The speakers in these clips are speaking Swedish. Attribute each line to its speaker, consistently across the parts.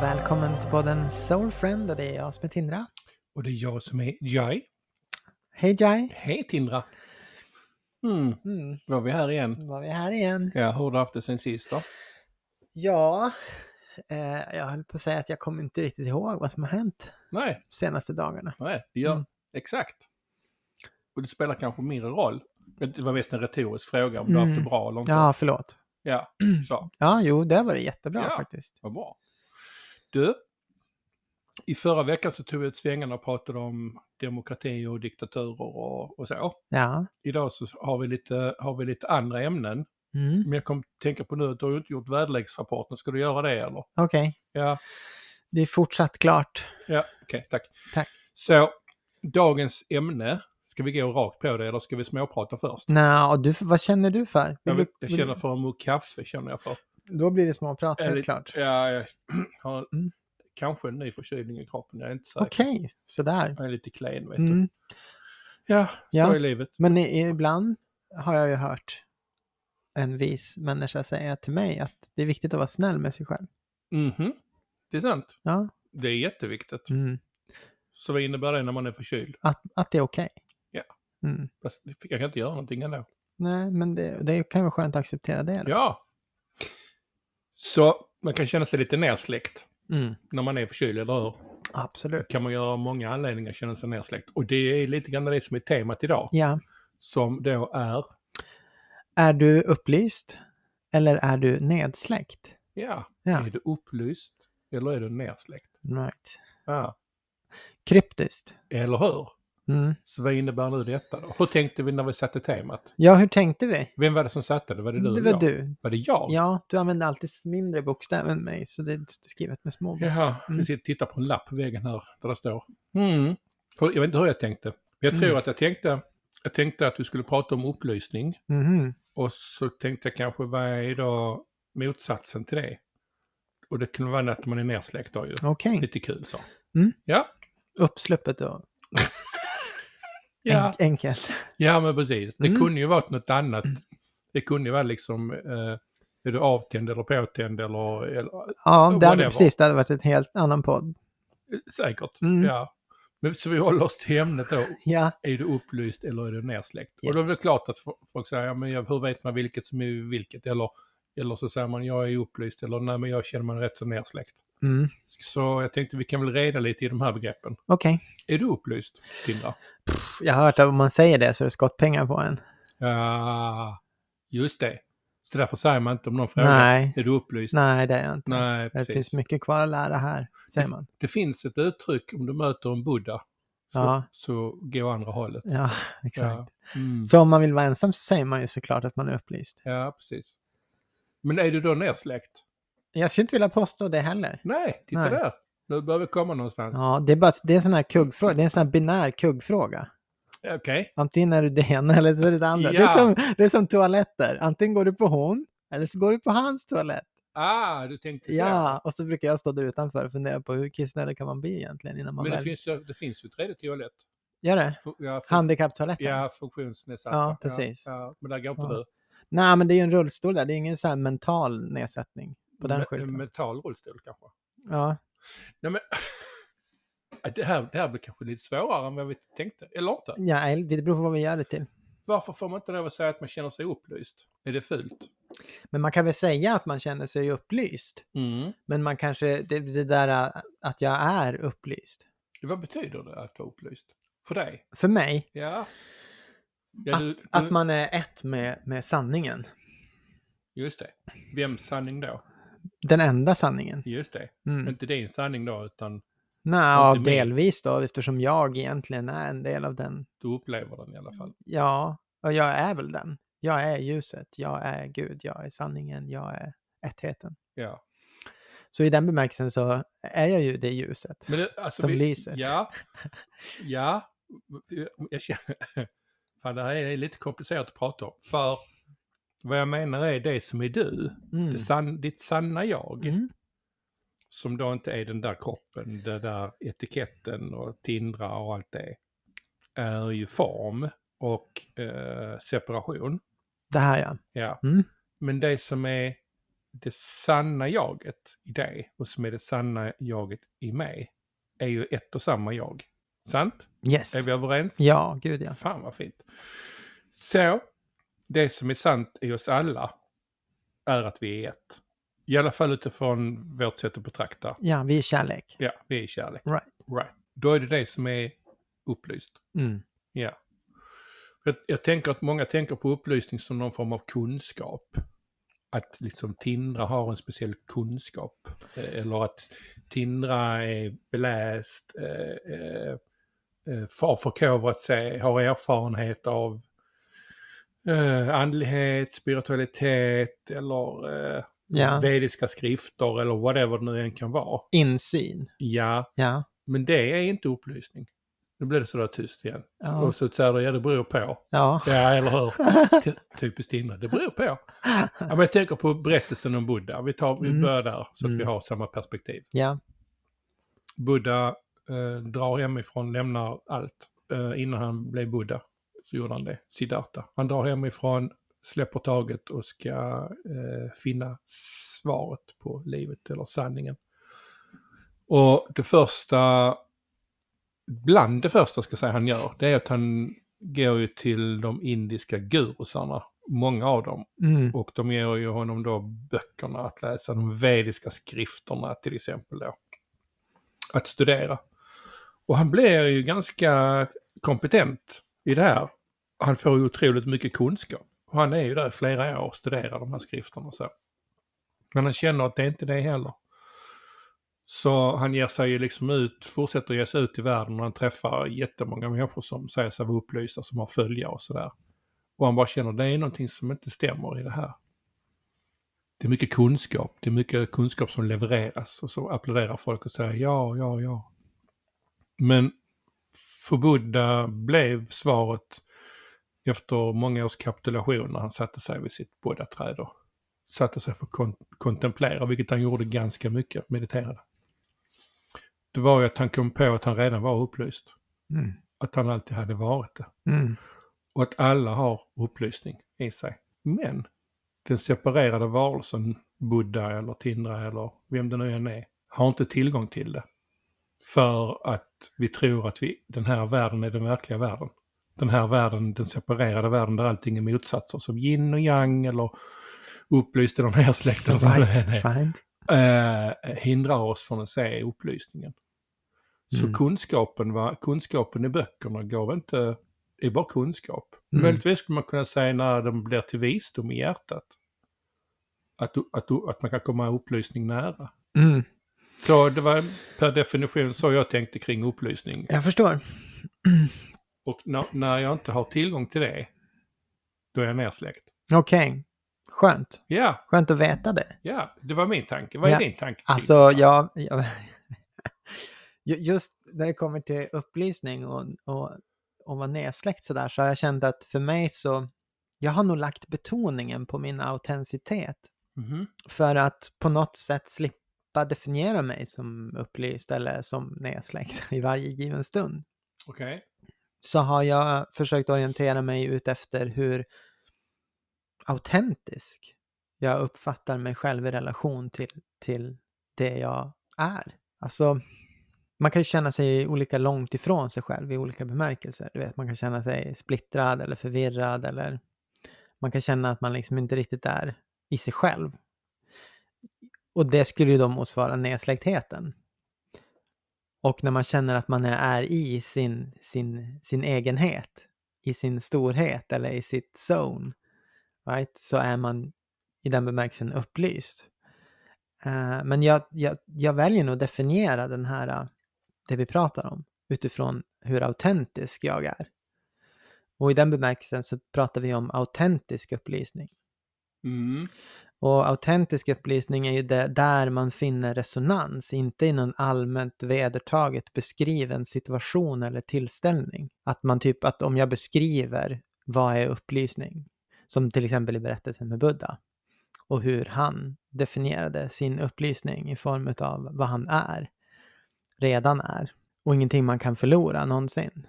Speaker 1: Välkommen till podden Soulfriend och det är jag som är Tindra.
Speaker 2: Och det är jag som är Jai.
Speaker 1: Hej Jai!
Speaker 2: Hej Tindra! Mm,
Speaker 1: Mm,
Speaker 2: var vi här igen.
Speaker 1: nu var vi här igen.
Speaker 2: Ja, hur har du haft det sen sist då?
Speaker 1: Ja, eh, jag höll på att säga att jag kommer inte riktigt ihåg vad som har hänt
Speaker 2: Nej,
Speaker 1: de senaste dagarna.
Speaker 2: nej, det gör
Speaker 1: Mm.
Speaker 2: exakt. Och det spelar kanske mindre roll. Det var mest en retorisk fråga om du
Speaker 1: Mm.
Speaker 2: har haft det bra eller inte.
Speaker 1: Ja, förlåt.
Speaker 2: ja så,
Speaker 1: Ja, jo, det var det jättebra
Speaker 2: Ja.
Speaker 1: faktiskt.
Speaker 2: vad bra. Du, i förra veckan så tog vi ut svängarna och pratade om demokrati och diktaturer och, och så.
Speaker 1: Ja.
Speaker 2: Idag så har vi, lite, har vi lite andra ämnen.
Speaker 1: Mm,
Speaker 2: Men jag kom att tänka på nu att du har ju inte gjort väderleksrapporten. Ska du göra det eller?
Speaker 1: Okej,
Speaker 2: Ja,
Speaker 1: det är fortsatt klart.
Speaker 2: Ja, okej, tack.
Speaker 1: Tack.
Speaker 2: Så, dagens ämne, ska vi gå rakt på det eller ska vi småprata först?
Speaker 1: Nå, och du, vad känner du för? Vill
Speaker 2: Jag, vill,
Speaker 1: Mm. du-
Speaker 2: jag
Speaker 1: vill-
Speaker 2: känner för en mugg kaffe, känner jag för.
Speaker 1: Då blir det småprat,
Speaker 2: Eller-
Speaker 1: helt klart.
Speaker 2: Ja, jag har
Speaker 1: Mm.
Speaker 2: kanske en ny förkylning i kroppen, jag är inte säker.
Speaker 1: Okej, sådär.
Speaker 2: Jag är lite klen, vet du.
Speaker 1: Mm.
Speaker 2: Ja, så
Speaker 1: Ja.
Speaker 2: är livet.
Speaker 1: Men i- ibland har jag ju hört en vis människa säga till mig att det är viktigt att vara snäll med sig själv.
Speaker 2: Mhm, det är sant.
Speaker 1: Ja.
Speaker 2: Det är jätteviktigt.
Speaker 1: Mm.
Speaker 2: Så vad innebär det när man är förkyld?
Speaker 1: Att, att det är okej.
Speaker 2: Ja.
Speaker 1: Mm.
Speaker 2: Fast Jag kan inte göra någonting ändå.
Speaker 1: Nej, men det, det kan vara skönt att acceptera det. då.
Speaker 2: Ja. Så man kan känna sig lite nersläckt
Speaker 1: Mm.
Speaker 2: när man är förkyld, eller hur?
Speaker 1: Absolut.
Speaker 2: kan man göra av många anledningar känna sig nedsläckt. Och det är lite grann det som är temat idag.
Speaker 1: Ja.
Speaker 2: Som då är,
Speaker 1: Är du upplyst eller är du nedsläckt?
Speaker 2: ja,
Speaker 1: Ja.
Speaker 2: är du upplyst eller är du nedsläckt?
Speaker 1: Right.
Speaker 2: Ja.
Speaker 1: Kryptiskt.
Speaker 2: Eller hur?
Speaker 1: Mm.
Speaker 2: Så vad innebär nu detta då? Hur tänkte vi när vi satte temat?
Speaker 1: Ja, hur tänkte vi?
Speaker 2: Vem var det som satte det? Var det du?
Speaker 1: det
Speaker 2: eller
Speaker 1: var
Speaker 2: jag?
Speaker 1: du.
Speaker 2: Var det jag?
Speaker 1: Ja, du använde alltid mindre bokstäver än mig, så det är skrivet med små bokstäver.
Speaker 2: Jaha,
Speaker 1: Mm.
Speaker 2: vi sitter och tittar på en lapp på väggen här där det står. Mm. Hur- Jag vet inte hur jag tänkte. Men jag tror
Speaker 1: Mm.
Speaker 2: att jag tänkte, jag tänkte att vi skulle prata om upplysning.
Speaker 1: Mhm.
Speaker 2: Och så tänkte jag kanske, vad är då motsatsen till det? Och det kunde vara att man är nersläckt då ju.
Speaker 1: Okej.
Speaker 2: Lite kul så.
Speaker 1: Mm.
Speaker 2: Ja.
Speaker 1: Uppsluppet och
Speaker 2: Ja.
Speaker 1: enk- enkelt.
Speaker 2: ja, men precis. Det
Speaker 1: Mm.
Speaker 2: kunde ju varit något annat. Det kunde ju vara liksom, eh, är du avtänd eller påtänd eller, eller eh,
Speaker 1: Ja, det hade,
Speaker 2: Whatever.
Speaker 1: precis. Det hade varit en helt annan podd.
Speaker 2: säkert.
Speaker 1: Mm.
Speaker 2: Ja. Men så vi håller oss till ämnet då.
Speaker 1: Ja,
Speaker 2: Är du upplyst eller är du nersläckt? Och
Speaker 1: Yes.
Speaker 2: då är det klart att fo- folk säger, ja, men jag- hur vet man vilket som är vilket? Eller, eller så säger man, jag är upplyst eller nej, men jag känner mig rätt så nersläckt.
Speaker 1: mm.
Speaker 2: Så jag tänkte vi kan väl reda lite i de här begreppen.
Speaker 1: okej.
Speaker 2: Är du upplyst, Tindra?
Speaker 1: Pff, Jag har hört att om man säger det så är det skottpengar på en.
Speaker 2: Ja, just det. Så därför säger man inte om någon frågar.
Speaker 1: Nej.
Speaker 2: Är du upplyst?
Speaker 1: Nej, det är jag inte.
Speaker 2: Nej,
Speaker 1: det
Speaker 2: precis.
Speaker 1: finns mycket kvar att lära här, säger man.
Speaker 2: Det finns ett uttryck om du möter en buddha. Så,
Speaker 1: Ja.
Speaker 2: så gå andra hållet.
Speaker 1: Ja, exakt.
Speaker 2: Ja. Mm.
Speaker 1: Så om man vill vara ensam så säger man ju såklart att man är upplyst.
Speaker 2: ja, precis. Men är du då nersläckt?
Speaker 1: Jag skulle inte vilja påstå det heller.
Speaker 2: Nej, titta
Speaker 1: Nej.
Speaker 2: där. Nu börjar vi komma någonstans.
Speaker 1: Ja, det är, bara, det är en sån här kuggfråga. Det är en sån här binär kuggfråga.
Speaker 2: Okej.
Speaker 1: Antingen är du det ena eller så är du det andra. Det,
Speaker 2: Ja.
Speaker 1: är som, det är som toaletter. Antingen går du på hon eller så går du på hans toalett.
Speaker 2: Ah, du tänkte så.
Speaker 1: Ja, och så brukar jag stå där utanför och fundera på hur kissnödig kan man bli egentligen innan man
Speaker 2: Men det
Speaker 1: väl
Speaker 2: finns, ju, det finns ju ett tredje toalett.
Speaker 1: gör det.
Speaker 2: Fu- Ja, fun-
Speaker 1: Handikapptoaletten?
Speaker 2: ja funktionsnedsatta.
Speaker 1: Ja, precis.
Speaker 2: Ja, ja, men där går inte
Speaker 1: Ja.
Speaker 2: du.
Speaker 1: Nej, men det är ju en rullstol där. Det är ingen så här mental nedsättning på den
Speaker 2: Me-
Speaker 1: skylten.
Speaker 2: Mental rullstol kanske.
Speaker 1: Ja.
Speaker 2: Nej, men... det, här, det här blir kanske lite svårare än vad vi tänkte. Eller inte.
Speaker 1: ja, eller det beror på vad vi gör det till.
Speaker 2: Varför får man inte lov att säga att man känner sig upplyst? Är det fult?
Speaker 1: Men man kan väl säga att man känner sig upplyst. Men man kanske, det, det där äh, att jag är upplyst.
Speaker 2: Vad betyder det att vara upplyst? För dig?
Speaker 1: För mig,
Speaker 2: Ja. ja du, du,
Speaker 1: att man är ett med, med sanningen.
Speaker 2: Just det. Vems sanning då?
Speaker 1: Den enda sanningen.
Speaker 2: Just det.
Speaker 1: Mm.
Speaker 2: Inte din sanning då, utan
Speaker 1: Nja,
Speaker 2: inte mer.
Speaker 1: delvis då, eftersom jag egentligen är en del av den.
Speaker 2: du upplever den i alla fall.
Speaker 1: Mm. Ja, och jag är väl den. Jag är ljuset, jag är Gud, jag är sanningen, jag är ettheten.
Speaker 2: Ja.
Speaker 1: Så i den bemärkelsen så är jag ju det ljuset.
Speaker 2: Men det, alltså,
Speaker 1: Som
Speaker 2: vi,
Speaker 1: lyser.
Speaker 2: Ja. Ja. Jag känner... Fan, det här är lite komplicerat att prata om. För vad jag menar är det som är du.
Speaker 1: Mm.
Speaker 2: det san, ditt sanna jag,
Speaker 1: Mm.
Speaker 2: som då inte är den där kroppen, den där etiketten och tindra och allt det, är ju form och eh, separation.
Speaker 1: Det här ja.
Speaker 2: Ja.
Speaker 1: Mm.
Speaker 2: Men det som är det sanna jaget i dig och som är det sanna jaget i mig är ju ett och samma jag. Sant?
Speaker 1: Yes.
Speaker 2: Är vi överens?
Speaker 1: Ja, gud ja.
Speaker 2: Fan vad fint. Så, det som är sant i oss alla är att vi är ett. I alla fall utifrån vårt sätt att betrakta.
Speaker 1: Ja, vi är kärlek.
Speaker 2: Ja, vi är kärlek.
Speaker 1: Right.
Speaker 2: Right. Då är det det som är upplyst.
Speaker 1: Mm.
Speaker 2: Ja. Jag, jag tänker att många tänker på upplysning som någon form av kunskap. Att liksom Tindra har en speciell kunskap. eh, Eller att Tindra är beläst, eh, eh, eh, har förkovrat sig, har erfarenhet av eh, andlighet, spiritualitet eller eh,
Speaker 1: Ja.
Speaker 2: vediska skrifter eller whatever det nu än kan vara.
Speaker 1: Insyn.
Speaker 2: Ja,
Speaker 1: Ja.
Speaker 2: men det är inte upplysning. Nu blir det sådär tyst igen.
Speaker 1: Ja.
Speaker 2: Och så säger du, ja det beror på.
Speaker 1: ja.
Speaker 2: Ja, eller hur? Ty- Typiskt inne. Det beror på. Ja, men jag tänker på berättelsen om Buddha. Vi, tar, vi
Speaker 1: Mm.
Speaker 2: börjar där så att vi
Speaker 1: Mm.
Speaker 2: har samma perspektiv.
Speaker 1: ja.
Speaker 2: Buddha eh, drar hemifrån, lämnar allt. Eh, innan han blev Buddha så gjorde han det. Siddhartha. Han drar hemifrån, släpper taget och ska eh, finna svaret på livet eller sanningen. Och det första, bland det första ska jag säga han gör, det är att han går ju till de indiska gurusarna, många av dem.
Speaker 1: Mm.
Speaker 2: Och de ger ju honom då böckerna att läsa, de vediska skrifterna till exempel då. Att studera. Och han blir ju ganska kompetent i det här. Han får ju otroligt mycket kunskap. Och han är ju där i flera år och studerar de här skrifterna och så. Men han känner att det är inte det heller. Så han ger sig ju liksom ut, fortsätter ge sig ut i världen och han träffar jättemånga människor som säger sig vara upplysta, som har följare och sådär. Och han bara känner det är någonting som inte stämmer i det här. Det är mycket kunskap, det är mycket kunskap som levereras och så applåderar folk och säger ja, ja, ja. Men för Buddha blev svaret efter många års kapitulation när han satte sig vid sitt Buddha-träd och satte sig för att kon- kontemplera, vilket han gjorde ganska mycket, mediterade. Det var ju att han kom på att han redan var upplyst,
Speaker 1: Mm.
Speaker 2: att han alltid hade varit det
Speaker 1: Mm.
Speaker 2: och att alla har upplysning i sig. Men den separerade varelsen, Buddha eller Tindra eller vem det nu än är, har inte tillgång till det. För att vi tror att vi, den här världen är den verkliga världen. Den här världen, den separerade världen där allting är motsatser som yin och yang eller upplyst eller nersläckt eller vad det
Speaker 1: Right.
Speaker 2: än är
Speaker 1: Right.
Speaker 2: eh, hindrar oss från att se upplysningen. Så
Speaker 1: Mm.
Speaker 2: kunskapen, va? kunskapen i böckerna gav inte, det är bara kunskap.
Speaker 1: Mm.
Speaker 2: Möjligtvis skulle man kunna säga när den blir till visdom i hjärtat. Att, du- att, du- att man kan komma upplysning nära.
Speaker 1: Mm.
Speaker 2: Så det var per definition så jag tänkte kring upplysning.
Speaker 1: Jag förstår.
Speaker 2: Och när, när jag inte har tillgång till det, då är jag nersläckt.
Speaker 1: Okej. Skönt.
Speaker 2: Ja,
Speaker 1: Skönt att veta det.
Speaker 2: ja, det var min tanke. Vad är
Speaker 1: Ja.
Speaker 2: din tanke? kring
Speaker 1: Alltså, jag... jag ju- just när det kommer till upplysning och, och, och vara nedsläckt sådär så har jag känt att för mig så... Jag har nog lagt betoningen på min autenticitet
Speaker 2: det? Mhm.
Speaker 1: för att på något sätt slippa definiera mig som upplyst eller som nedsläckt i varje given stund.
Speaker 2: Okej.
Speaker 1: Så har jag försökt orientera mig ut efter hur autentisk jag uppfattar mig själv i relation till, till det jag är. Alltså, man kan ju känna sig olika långt ifrån sig själv i olika bemärkelser. Du vet, man kan känna sig splittrad eller förvirrad eller man kan känna att man liksom inte riktigt är i sig själv. Och det skulle ju då motsvara nedsläcktheten. Och när man känner att man är i sin, sin, sin egenhet, i sin storhet eller i sitt zone, right, så är man i den bemärkelsen upplyst. Eh, men jag, jag, jag väljer nog att definiera den här, eh, det vi pratar om utifrån hur autentisk jag är. Och i den bemärkelsen så pratar vi om autentisk upplysning.
Speaker 2: Mm.
Speaker 1: Och autentisk upplysning är ju det, där man finner resonans, inte i någon allmänt vedertaget beskriven situation eller tillställning. Att man typ, att om jag beskriver vad är upplysning, som till exempel i berättelsen med Buddha, och hur han definierade sin upplysning i form av vad han är, redan är, och ingenting man kan förlora någonsin,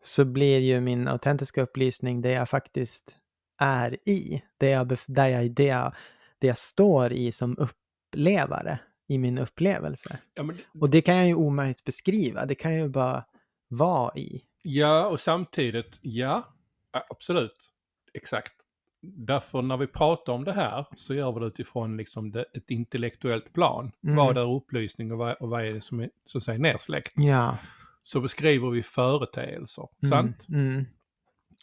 Speaker 1: så blir ju min autentiska upplysning det jag faktiskt är i, det jag, bef- där jag, det jag det jag står i som upplevare i min upplevelse.
Speaker 2: Ja, men,
Speaker 1: Och det kan jag ju omöjligt beskriva, det kan jag ju bara vara i.
Speaker 2: ja, och samtidigt, ja, a- absolut, exakt. Därför när vi pratar om det här så gör vi det utifrån liksom det, ett intellektuellt plan.
Speaker 1: Mm.
Speaker 2: Vad är upplysning och vad, och vad är det som är så att säga nedsläckt?
Speaker 1: Ja.
Speaker 2: Så beskriver vi företeelser,
Speaker 1: Mm,
Speaker 2: sant?
Speaker 1: Mm.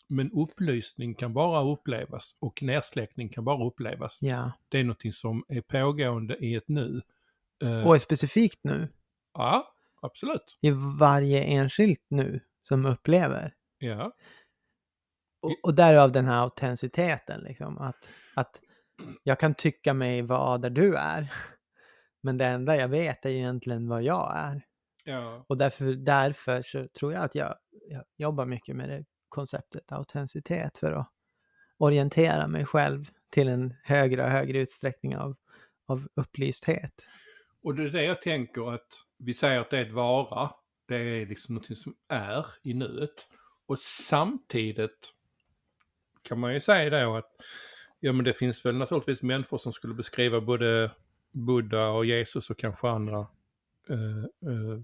Speaker 2: Men upplysning kan bara upplevas och nedsläckning kan bara upplevas.
Speaker 1: Ja.
Speaker 2: Det är någonting som är pågående i ett nu. Eh,
Speaker 1: Och är specifikt nu,
Speaker 2: Ja, absolut.
Speaker 1: i varje enskilt nu som upplever.
Speaker 2: Ja.
Speaker 1: Och, och därav den här autenticiteten, liksom, att, att jag kan tycka mig vara där du är. Men det enda jag vet är ju egentligen vad jag är.
Speaker 2: ja.
Speaker 1: Och därför, därför så tror jag att jag, jag jobbar mycket med det konceptet autenticitet för att orientera mig själv till en högre och högre utsträckning av, av upplysthet.
Speaker 2: Och det är det jag tänker att vi säger att det är ett vara. Det är liksom någonting som är i nuet. Och samtidigt kan man ju säga då att ja men det finns väl naturligtvis människor som skulle beskriva både Buddha och Jesus och kanske andra. Eh, eh,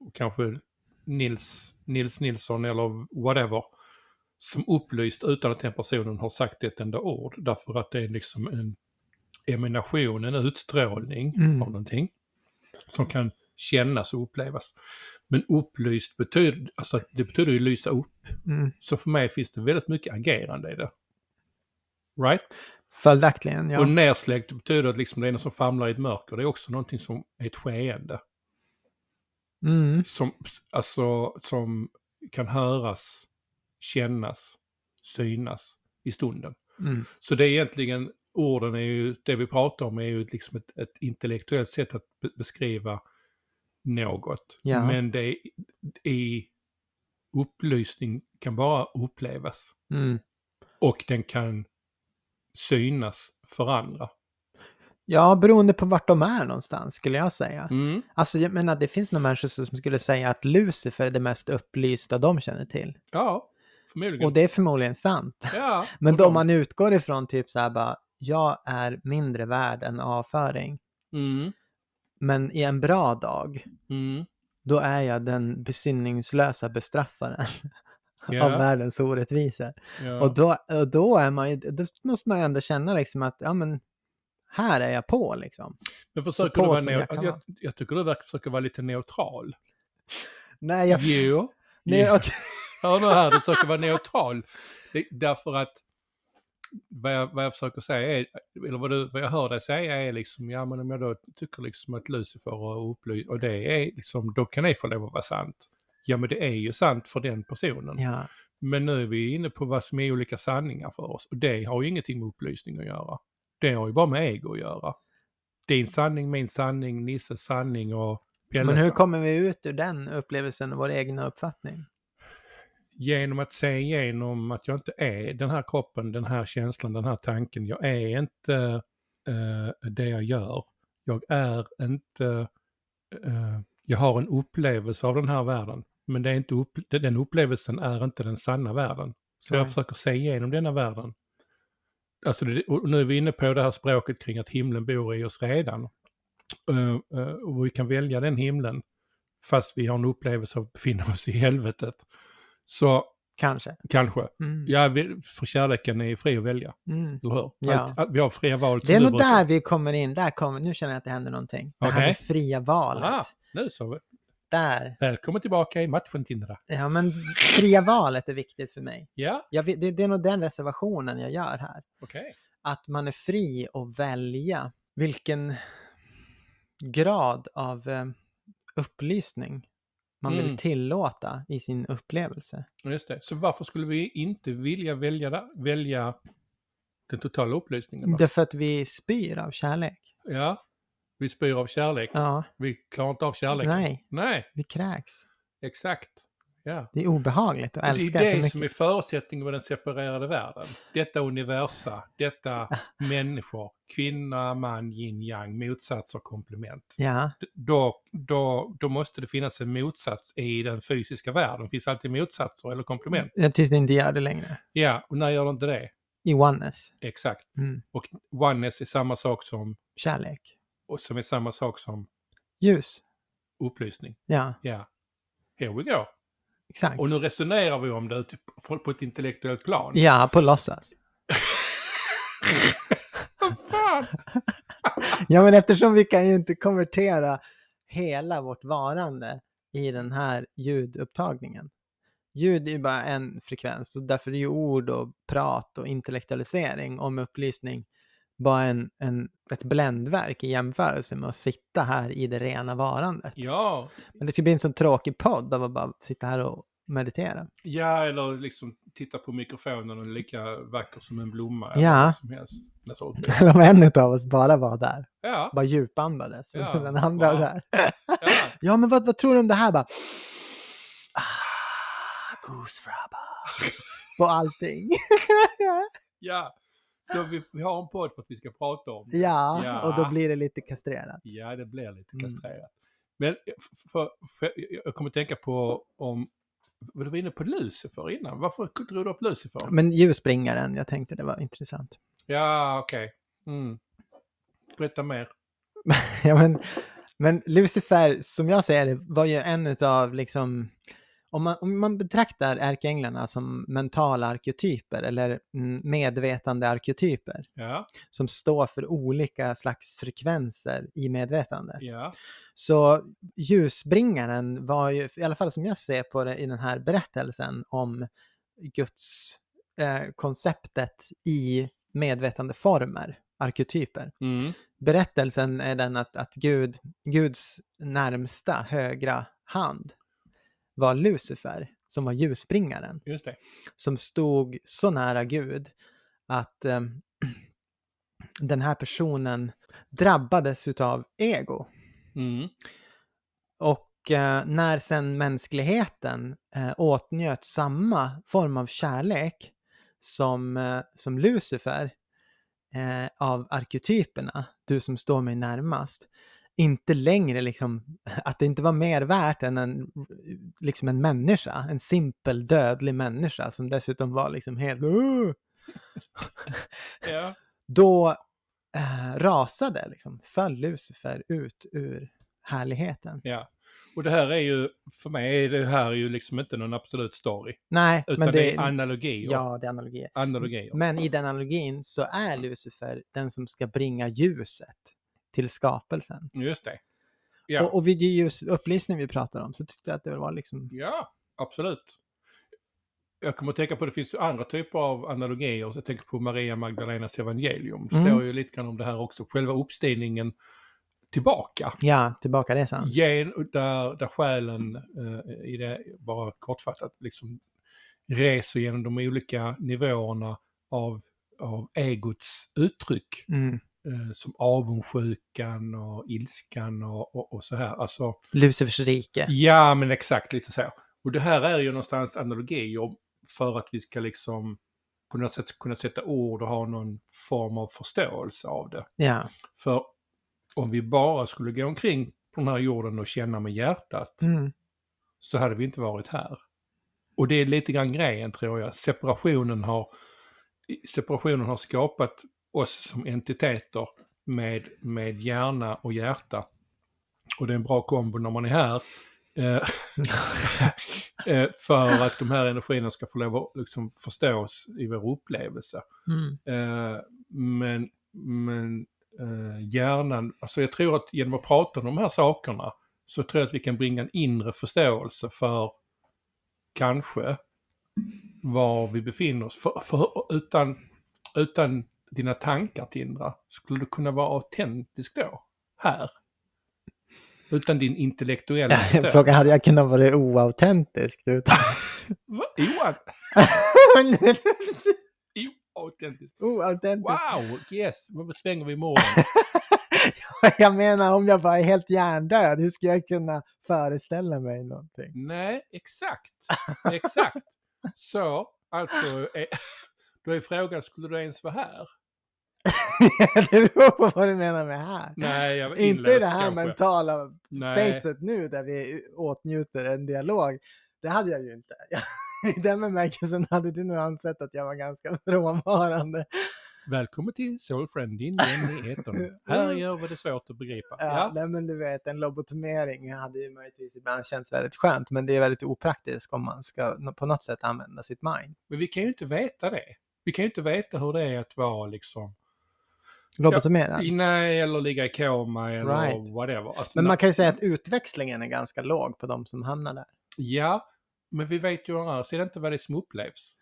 Speaker 2: och kanske Nils, Nils Nilsson eller whatever. Som upplyst utan att den personen har sagt ett enda ord. Därför att det är liksom en emanation, en utstrålning
Speaker 1: Mm.
Speaker 2: av någonting. Som kan kännas och upplevas. Men upplyst betyder, alltså att det betyder ju lysa upp.
Speaker 1: Mm.
Speaker 2: Så för mig finns det väldigt mycket agerande i det. Right?
Speaker 1: Följaktligen, ja.
Speaker 2: Och nersläckt betyder att liksom det är någon som famlar i ett mörker. Det är också någonting som är ett skeende.
Speaker 1: Mm.
Speaker 2: Som, alltså, som kan höras, kännas, synas i stunden.
Speaker 1: Mm.
Speaker 2: Så det är egentligen, orden är ju, det vi pratar om är ju liksom ett, ett intellektuellt sätt att be- beskriva något.
Speaker 1: Ja.
Speaker 2: Men det är, i upplysning kan bara upplevas.
Speaker 1: Mm.
Speaker 2: Och den kan synas för andra.
Speaker 1: Ja, beroende på vart de är någonstans skulle jag säga.
Speaker 2: Mm.
Speaker 1: Alltså jag menar, det finns nog människor som skulle säga att Lucifer är det mest upplysta de känner till.
Speaker 2: Ja, förmodligen.
Speaker 1: Och det är förmodligen sant.
Speaker 2: ja,
Speaker 1: Men
Speaker 2: och
Speaker 1: då man utgår ifrån typ så här bara, jag är mindre värd än avföring.
Speaker 2: Mm,
Speaker 1: Men i en bra dag,
Speaker 2: mm,
Speaker 1: då är jag den besinningslösa bestraffaren
Speaker 2: ja,
Speaker 1: av världens orättvisor.
Speaker 2: ja.
Speaker 1: Och, då, och då, är man ju, då måste man ju ändå känna liksom att, ja men, här är jag på liksom.
Speaker 2: Men
Speaker 1: så
Speaker 2: försöker
Speaker 1: på
Speaker 2: du vara
Speaker 1: som
Speaker 2: neu-
Speaker 1: jag
Speaker 2: jag,
Speaker 1: kan
Speaker 2: jag, jag tycker du verkar försöka vara lite neutral.
Speaker 1: Nej, jag...
Speaker 2: Jo.
Speaker 1: Nej, okej.
Speaker 2: Hör nu här, du försöker vara neutral. Det, därför att vad jag, vad jag försöker säga är, eller vad, du, vad jag hör dig säga är liksom, ja men om jag då tycker liksom att Lucifer och upply och det är liksom, då kan det få lov att vara sant. Ja men det är ju sant för den personen.
Speaker 1: Ja.
Speaker 2: Men nu är vi inne på vad som är olika sanningar för oss. Och det har ju ingenting med upplysning att göra. Det har ju bara med ego att göra. Din sanning, min sanning, Nisses sanning och Pelles
Speaker 1: Men hur
Speaker 2: sanning.
Speaker 1: kommer vi ut ur den upplevelsen och vår egna uppfattning?
Speaker 2: Genom att se igenom att jag inte är den här kroppen, den här känslan, den här tanken. Jag är inte eh, det jag gör. Jag är inte... eh, jag har en upplevelse av den här världen. Men det är inte upp, den upplevelsen är inte den sanna världen. Så
Speaker 1: Nej.
Speaker 2: jag försöker se igenom denna världen. Alltså, det- och nu är vi inne på det här språket kring att himlen bor i oss redan. Eh, eh, och vi kan välja den himlen fast vi har en upplevelse av att befinna oss i helvetet. Så
Speaker 1: Kanske.
Speaker 2: kanske,
Speaker 1: Mm.
Speaker 2: ja, vi, för kärleken är ju fri att välja,
Speaker 1: Mm.
Speaker 2: eller hur?
Speaker 1: Ja.
Speaker 2: Att, att vi har fria val.
Speaker 1: Det är
Speaker 2: som du
Speaker 1: nog
Speaker 2: brukar-
Speaker 1: där vi kommer in, där kommer, nu känner jag att det händer någonting. Det här
Speaker 2: Okej.
Speaker 1: med fria valet.
Speaker 2: Ah, nu så. vi.
Speaker 1: Där.
Speaker 2: Välkommen tillbaka i matchen Tindra.
Speaker 1: Ja, men fria valet är viktigt för mig.
Speaker 2: Ja,
Speaker 1: Jag, vet- det, det är nog den reservationen jag gör här.
Speaker 2: okej.
Speaker 1: Att man är fri att välja vilken grad av eh, upplysning man vill
Speaker 2: Mm.
Speaker 1: tillåta i sin upplevelse.
Speaker 2: Just det. Så varför skulle vi inte vilja välja, det- välja den totala upplysningen? Då?
Speaker 1: Därför att vi spyr av kärlek.
Speaker 2: Ja, vi spyr av kärlek.
Speaker 1: Ja,
Speaker 2: Vi klarar inte av kärleken.
Speaker 1: nej,
Speaker 2: Nej,
Speaker 1: vi kräks.
Speaker 2: exakt. Ja.
Speaker 1: Det är obehagligt att
Speaker 2: Och
Speaker 1: älska
Speaker 2: det
Speaker 1: för
Speaker 2: är det
Speaker 1: mycket.
Speaker 2: som är förutsättningen med den separerade världen. Detta universa, detta människor, kvinna, man, yin, yang, motsatser, komplement.
Speaker 1: Ja,
Speaker 2: D- Då, då, då måste det finnas en motsats i den fysiska världen. Det finns alltid motsatser eller komplement.
Speaker 1: tills det inte gör det längre.
Speaker 2: Ja, och när gör det inte det?
Speaker 1: I oneness.
Speaker 2: Exakt.
Speaker 1: Mm.
Speaker 2: Och oneness är samma sak som,
Speaker 1: Kärlek.
Speaker 2: och som är samma sak som
Speaker 1: Ljus.
Speaker 2: upplysning.
Speaker 1: Ja,
Speaker 2: Ja. Here we go.
Speaker 1: exakt.
Speaker 2: Och nu resonerar vi om det ute på- på ett intellektuellt plan.
Speaker 1: Ja, på låtsas.
Speaker 2: Vad fan!
Speaker 1: Ja, men eftersom vi kan ju inte konvertera hela vårt varande i den här ljudupptagningen. Ljud är ju bara en frekvens och därför är ju ord och prat och intellektualisering om upplysning bara en, en, ett bländverk i jämförelse med att sitta här i det rena varandet.
Speaker 2: Ja,
Speaker 1: Men det skulle bli en sån tråkig podd av att bara sitta här och meditera.
Speaker 2: ja, eller liksom titta på mikrofonen och lika vacker som en blomma.
Speaker 1: Ja.
Speaker 2: Eller vad som helst. Naturligtvis.
Speaker 1: Eller om en utav oss bara var där,
Speaker 2: Ja,
Speaker 1: bara djupandades.
Speaker 2: Ja,
Speaker 1: och den andra
Speaker 2: bara-
Speaker 1: där.
Speaker 2: ja.
Speaker 1: Ja, men vad, vad tror du om det här? Bara... Ah, Goosefrabba. På allting.
Speaker 2: ja. Så vi, vi har en podd för att vi ska prata om. det.
Speaker 1: ja,
Speaker 2: Ja.
Speaker 1: och då blir det lite kastrerat.
Speaker 2: Ja, det blir lite
Speaker 1: Mm.
Speaker 2: kastrerat. Men eh, f- för, för, jag kommer tänka på om... Du var inne på Lucifer innan. Varför drog du upp Lucifer?
Speaker 1: Men ljusbringaren, jag tänkte det var intressant.
Speaker 2: Ja, okej. Mm. Berätta mer.
Speaker 1: ja, men, men Lucifer, som jag ser det, var ju en av liksom... Om man, om man betraktar ärkeänglarna som mentala arketyper eller mm, medvetande arketyper
Speaker 2: Ja,
Speaker 1: som står för olika slags frekvenser i medvetandet.
Speaker 2: ja,
Speaker 1: Så ljusbringaren var ju, i alla fall som jag ser på det i den här berättelsen om Guds eh, konceptet i medvetandeformer, arketyper.
Speaker 2: mm.
Speaker 1: Berättelsen är den att, att Gud, Guds närmsta högra hand var Lucifer, som var ljusbringaren,
Speaker 2: just det.
Speaker 1: som stod så nära Gud att eh, den här personen drabbades utav ego.
Speaker 2: Mm.
Speaker 1: Och eh, när sen mänskligheten eh, åtnjöt samma form av kärlek som, eh, som Lucifer eh, av arketyperna, du som står mig närmast, inte längre liksom, att det inte var mer värt än en, liksom en människa, en simpel dödlig människa som dessutom var liksom helt "Åh!"
Speaker 2: Ja.
Speaker 1: Då eh, rasade liksom, föll Lucifer ut ur härligheten.
Speaker 2: ja. Och det här är ju, för mig är det här ju liksom inte någon absolut story.
Speaker 1: Nej,
Speaker 2: Utan
Speaker 1: men
Speaker 2: det, är analogier.
Speaker 1: Ja, det är analogier.
Speaker 2: Analogier.
Speaker 1: Men i den analogin så är Lucifer den som ska bringa ljuset till skapelsen.
Speaker 2: Just det. Ja.
Speaker 1: Och, och vid ljus upplysning vi pratar om så tyckte jag att det var liksom,
Speaker 2: Ja, absolut. Jag kommer att tänka på, det finns ju andra typer av analogier. Så Jag tänker på Maria Magdalenas evangelium. Det
Speaker 1: Mm.
Speaker 2: står ju lite grann om det här också. Själva uppstigningen tillbaka.
Speaker 1: ja, tillbaka resan.
Speaker 2: Gen, där, där själen, eh, i det, bara kortfattat, liksom reser genom de olika nivåerna av, av egots uttryck
Speaker 1: Mm.
Speaker 2: eh, som avundsjukan och ilskan och, och, och så här. Alltså,
Speaker 1: Lucifers rike.
Speaker 2: ja men exakt lite så. Och det här är ju någonstans analogi om- för att vi ska liksom på något sätt kunna sätta ord och ha någon form av förståelse av det.
Speaker 1: Ja.
Speaker 2: För om vi bara skulle gå omkring på den här jorden och känna med hjärtat
Speaker 1: Mm.
Speaker 2: så hade vi inte varit här. Och det är lite grann grejen tror jag. Separationen har, separationen har skapat oss som entiteter med, med hjärna och hjärta. Och det är en bra kombo när man är här. Eh, eh, för att de här energierna ska få lov att liksom förstås i vår upplevelse.
Speaker 1: Mm.
Speaker 2: Eh, men men eh, hjärnan, alltså jag tror att genom att prata om de här sakerna så tror jag att vi kan bringa en inre förståelse för kanske var vi befinner oss. För, för, utan, utan dina tankar Tindra, skulle du kunna vara autentisk då? Här? Utan din intellektuella förståelse?
Speaker 1: Frågan hade jag kunnat vara oautentisk utan...
Speaker 2: Va? Oa- Oautentisk.
Speaker 1: oautentisk.
Speaker 2: Wow, yes, nu svänger vi imorgon.
Speaker 1: Jag menar om jag bara är helt hjärndöd, hur ska jag kunna föreställa mig någonting?
Speaker 2: Nej, exakt. Exakt. Så, alltså, eh, då är frågan, skulle du ens vara här?
Speaker 1: det beror på vad du menar med här.
Speaker 2: Nej, jag var
Speaker 1: Inte i
Speaker 2: inlåst
Speaker 1: det här
Speaker 2: kanske.
Speaker 1: mentala
Speaker 2: Nej.
Speaker 1: spacet nu där vi åtnjuter en dialog. Det hade jag ju inte. Jag, I den bemärkelsen hade du nog ansett att jag var ganska frånvarande.
Speaker 2: Välkommen till Soulfriend, din vän i etern. Här gör vi det svårt att begripa.
Speaker 1: Ja,
Speaker 2: Ja,
Speaker 1: Nej, men du vet, en lobotomering hade ju möjligtvis ibland känts väldigt skönt, men det är väldigt opraktiskt om man ska nå- på något sätt använda sitt mind.
Speaker 2: men vi kan ju inte veta det. Vi kan ju inte veta hur det är att vara liksom...
Speaker 1: Lobotomera.
Speaker 2: i- Nej, eller ligga i koma eller
Speaker 1: Right.
Speaker 2: whatever. Alltså,
Speaker 1: Men
Speaker 2: när-
Speaker 1: man kan ju säga att utväxlingen är ganska låg på de som hamnar där.
Speaker 2: Ja, men vi vet ju å andra sidan inte vad det är som upplevs.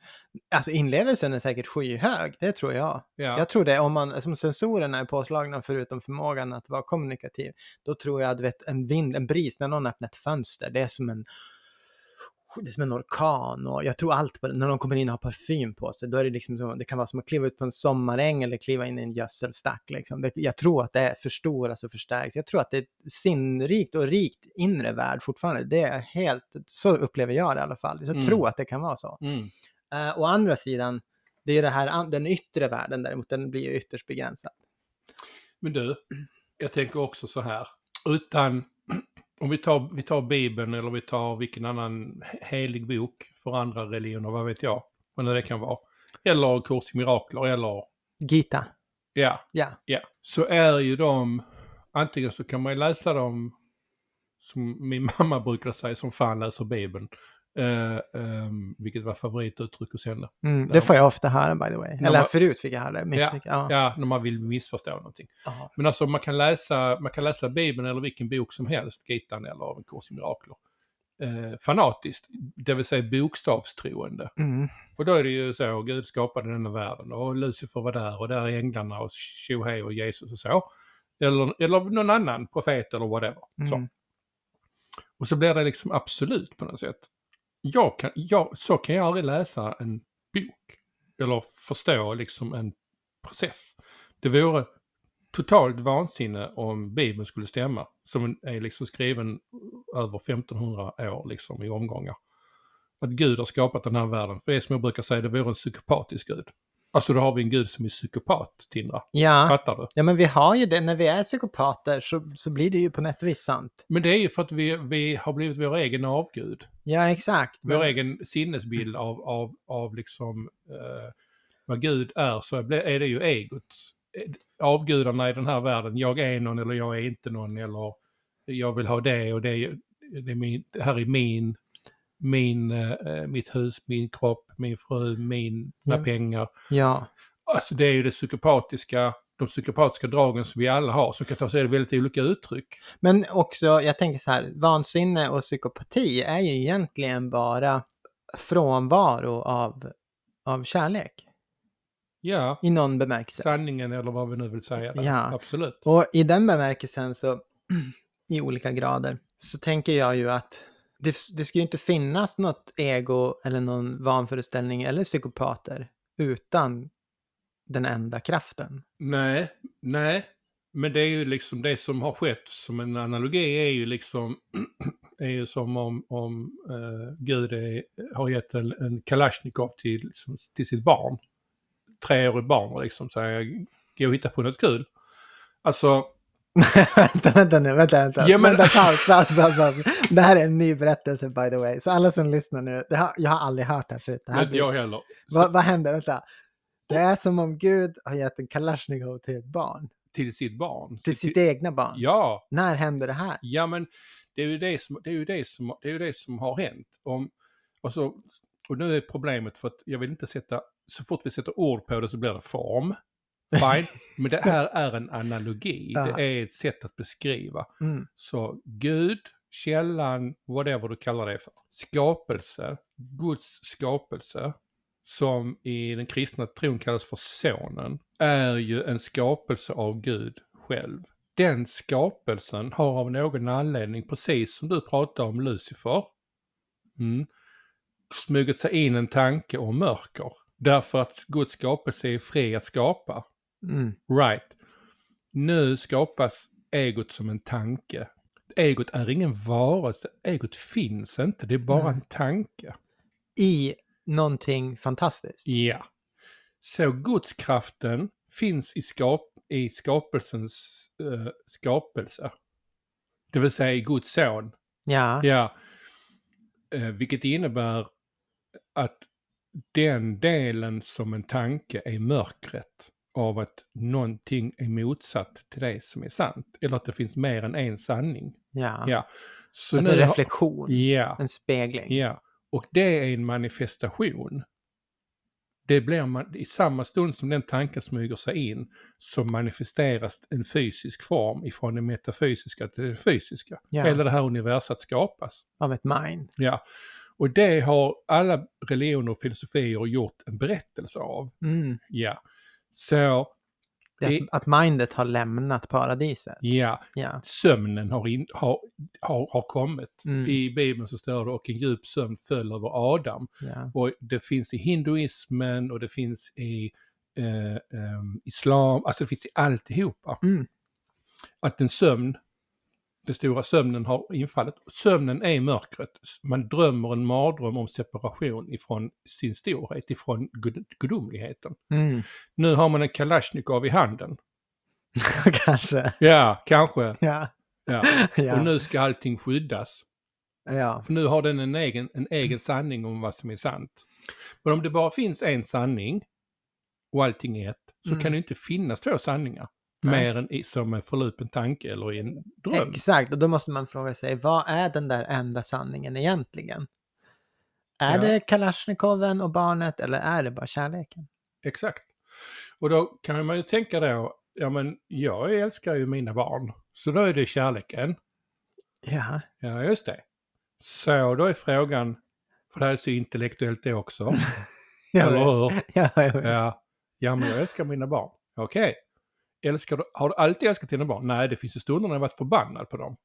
Speaker 1: Alltså inlevelsen är säkert skyhög, det tror jag.
Speaker 2: Ja.
Speaker 1: Jag tror det, om man, som sensorerna är påslagna förutom förmågan att vara kommunikativ, då tror jag att du vet, en vind, en bris, när någon öppnar ett fönster, det är som en det är som en orkan och jag tror allt på det. När någon kommer in och har parfym på sig, då är det liksom som, det kan vara som att kliva ut på en sommaräng eller kliva in i en gödselstack liksom. Det, jag tror att det förstoras och förstärks. alltså Jag tror att det är ett sinnrikt och rikt inre värld fortfarande. Det är helt, så upplever jag det i alla fall. Jag
Speaker 2: Mm.
Speaker 1: tror att det kan vara så.
Speaker 2: Mm.
Speaker 1: Eh, å andra sidan, det är det här, an- den yttre världen däremot, den blir ju ytterst begränsad.
Speaker 2: Men du, jag tänker också så här. Utan, om vi tar, vi tar Bibeln eller vi tar vilken annan helig bok för andra religioner, vad vet jag, vad nu det kan vara. Eller Kurs i Mirakler eller,
Speaker 1: Gita,
Speaker 2: ja,
Speaker 1: ja.
Speaker 2: ja. Så är ju de, antingen så kan man ju läsa dem, som min mamma brukar säga, som fan läser Bibeln. Eh, ehm, vilket var favorituttryck hos henne.
Speaker 1: Mm, det får jag ofta höra by the way.
Speaker 2: Ja,
Speaker 1: Eller
Speaker 2: men-
Speaker 1: förut fick jag höra det. mycket, ja.
Speaker 2: Ja, när man vill missförstå någonting.
Speaker 1: Ja.
Speaker 2: Men alltså man kan läsa, man kan läsa Bibeln eller vilken bok som helst, Gitan eller En kurs i mirakler. Eh, fanatiskt, det vill säga bokstavstroende.
Speaker 1: Mm.
Speaker 2: Och då är det ju så, Gud skapade denna världen och Lucifer var där och där är änglarna och tjohej och Jesus och så. Eller, eller någon annan profet eller whatever. Så.
Speaker 1: Mm.
Speaker 2: Och så blir det liksom absolut på något sätt. Jag kan, jag, så kan jag aldrig läsa en bok. Eller förstå liksom en process. Det vore totalt vansinne om Bibeln skulle stämma. Som är liksom skriven över 1500 år liksom i omgångar. Att Gud har skapat den här världen. För det är som jag brukar säga, det vore en psykopatisk Gud. Alltså då har vi en Gud som är psykopat, Tindra.
Speaker 1: Ja.
Speaker 2: Fattar du?
Speaker 1: ja, men vi har ju det. När vi är psykopater så, så blir det ju på något vis sant.
Speaker 2: Men det är ju för att vi, vi har blivit vår egen avgud.
Speaker 1: Ja, exakt.
Speaker 2: vår
Speaker 1: Men,
Speaker 2: egen sinnesbild av, av, av liksom eh, vad Gud är så är det är det ju egot. Eh, Avgudarna i den här världen, jag är någon eller jag är inte någon eller jag vill ha det och det, är- det, är min, det här är min, min, eh, mitt hus, min kropp, min fru, mina
Speaker 1: Mm.
Speaker 2: pengar.
Speaker 1: ja.
Speaker 2: Alltså det är ju det psykopatiska, de psykopatiska dragen som vi alla har som kan ta sig väldigt olika uttryck.
Speaker 1: men också, jag tänker så här, vansinne och psykopati är ju egentligen bara frånvaro av, av kärlek
Speaker 2: Ja,
Speaker 1: i någon bemärkelse.
Speaker 2: sanningen eller vad vi nu vill säga. där.
Speaker 1: Ja.
Speaker 2: Absolut.
Speaker 1: Och i den bemärkelsen så, i olika grader, så tänker jag ju att det, det ska ju inte finnas något ego eller någon vanföreställning eller psykopater utan den enda kraften.
Speaker 2: Nej, nej. Men det är ju liksom det som har skett som en analogi är ju liksom är ju som om, om eh, Gud är, har gett en, en Kalashnikov till, liksom, till sitt barn. Treårigt barn och liksom säger gå och hitta på något kul. Alltså,
Speaker 1: vänta, vänta nu, vänta, vänta.
Speaker 2: Ja, men-
Speaker 1: vänta paus, paus, paus, paus. Det här är en ny berättelse by the way. Så alla som lyssnar nu, det har, jag har aldrig hört det här förut. Det här
Speaker 2: inte
Speaker 1: blir,
Speaker 2: jag heller. Så,
Speaker 1: vad, vad händer? Vänta. Det är som om Gud har gett en Kalashnikov till ett barn.
Speaker 2: Till sitt barn.
Speaker 1: Till
Speaker 2: Så
Speaker 1: sitt egna barn.
Speaker 2: Ja,
Speaker 1: När händer det här?
Speaker 2: Ja, men det är ju det som, det är ju det som, det är ju det som har hänt. Om, och, så, och nu är problemet för att jag vill inte sätta, så fort vi sätter ord på det så blir det form. Fine. men det här är en analogi.
Speaker 1: Ja.
Speaker 2: Det är ett sätt att beskriva.
Speaker 1: Mm.
Speaker 2: Så Gud, källan, whatever du kallar det för. Skapelse, Guds skapelse, som i den kristna tron kallas för sonen, är ju en skapelse av Gud själv. Den skapelsen har av någon anledning, precis som du pratade om Lucifer, mm, smugit sig in en tanke om mörker. Därför att Guds skapelse är fri att skapa.
Speaker 1: Mm.
Speaker 2: Right. Nu skapas egot som en tanke. Egot är ingen varelse, egot finns inte, det är bara
Speaker 1: Nej.
Speaker 2: en tanke.
Speaker 1: I någonting fantastiskt.
Speaker 2: Ja. Så gudskraften finns i, skap i skapelsens eh, skapelse. Det vill säga i Guds son.
Speaker 1: Ja.
Speaker 2: Ja. Eh, vilket innebär att den delen som en tanke är mörkret av att någonting är motsatt till det som är sant. Eller att det finns mer än en sanning.
Speaker 1: Ja.
Speaker 2: Ja. Så
Speaker 1: att
Speaker 2: nu
Speaker 1: en
Speaker 2: har-
Speaker 1: reflektion,
Speaker 2: Ja,
Speaker 1: en spegling.
Speaker 2: ja. Och det är en manifestation. Det blir man, i samma stund som den tanken smyger sig in så manifesteras en fysisk form ifrån det metafysiska till det fysiska.
Speaker 1: Ja.
Speaker 2: Hela det här universat skapas.
Speaker 1: Av ett mind.
Speaker 2: Ja. Och det har alla religioner och filosofier gjort en berättelse av.
Speaker 1: Mm.
Speaker 2: Ja. Så,
Speaker 1: Det, är
Speaker 2: Det-
Speaker 1: att, att mindet har lämnat paradiset.
Speaker 2: ja,
Speaker 1: Ja.
Speaker 2: sömnen har, in, har, har, har kommit.
Speaker 1: Mm.
Speaker 2: I Bibeln så står det och en djup sömn föll över Adam.
Speaker 1: ja.
Speaker 2: Och det finns i hinduismen och det finns i eh, ehm, islam, alltså det finns i alltihopa.
Speaker 1: Mm.
Speaker 2: Att en sömn, den stora sömnen har infallit. Sömnen är mörkret. Man drömmer en mardröm om separation ifrån sin storhet, ifrån gud- gudomligheten.
Speaker 1: Mm.
Speaker 2: Nu har man en Kalashnikov i handen.
Speaker 1: Kanske.
Speaker 2: Ja, kanske.
Speaker 1: Ja.
Speaker 2: Ja.
Speaker 1: Ja.
Speaker 2: Och nu ska allting skyddas.
Speaker 1: ja.
Speaker 2: För nu har den en egen, en egen sanning om vad som är sant. Men om det bara finns en sanning och allting är ett, så
Speaker 1: Mm.
Speaker 2: kan det inte finnas två sanningar.
Speaker 1: Nej.
Speaker 2: Mer än i, som en förlupen tanke eller i en dröm.
Speaker 1: Exakt, och då måste man fråga sig, vad är den där enda sanningen egentligen? Är
Speaker 2: Ja.
Speaker 1: det Kalashnikoven och barnet eller är det bara kärleken?
Speaker 2: Exakt. Och då kan man ju tänka då, ja men jag älskar ju mina barn. Så då är det kärleken.
Speaker 1: Ja.
Speaker 2: Ja, just det. Så då är frågan, för det här är så intellektuellt det också,
Speaker 1: Jag
Speaker 2: eller
Speaker 1: vet.
Speaker 2: hur?
Speaker 1: Ja, jag vet.
Speaker 2: Ja, ja men jag älskar mina barn. Okej. Älskar du, har du alltid älskat dina barn? Nej, det finns ju stunder när jag varit förbannad på dem.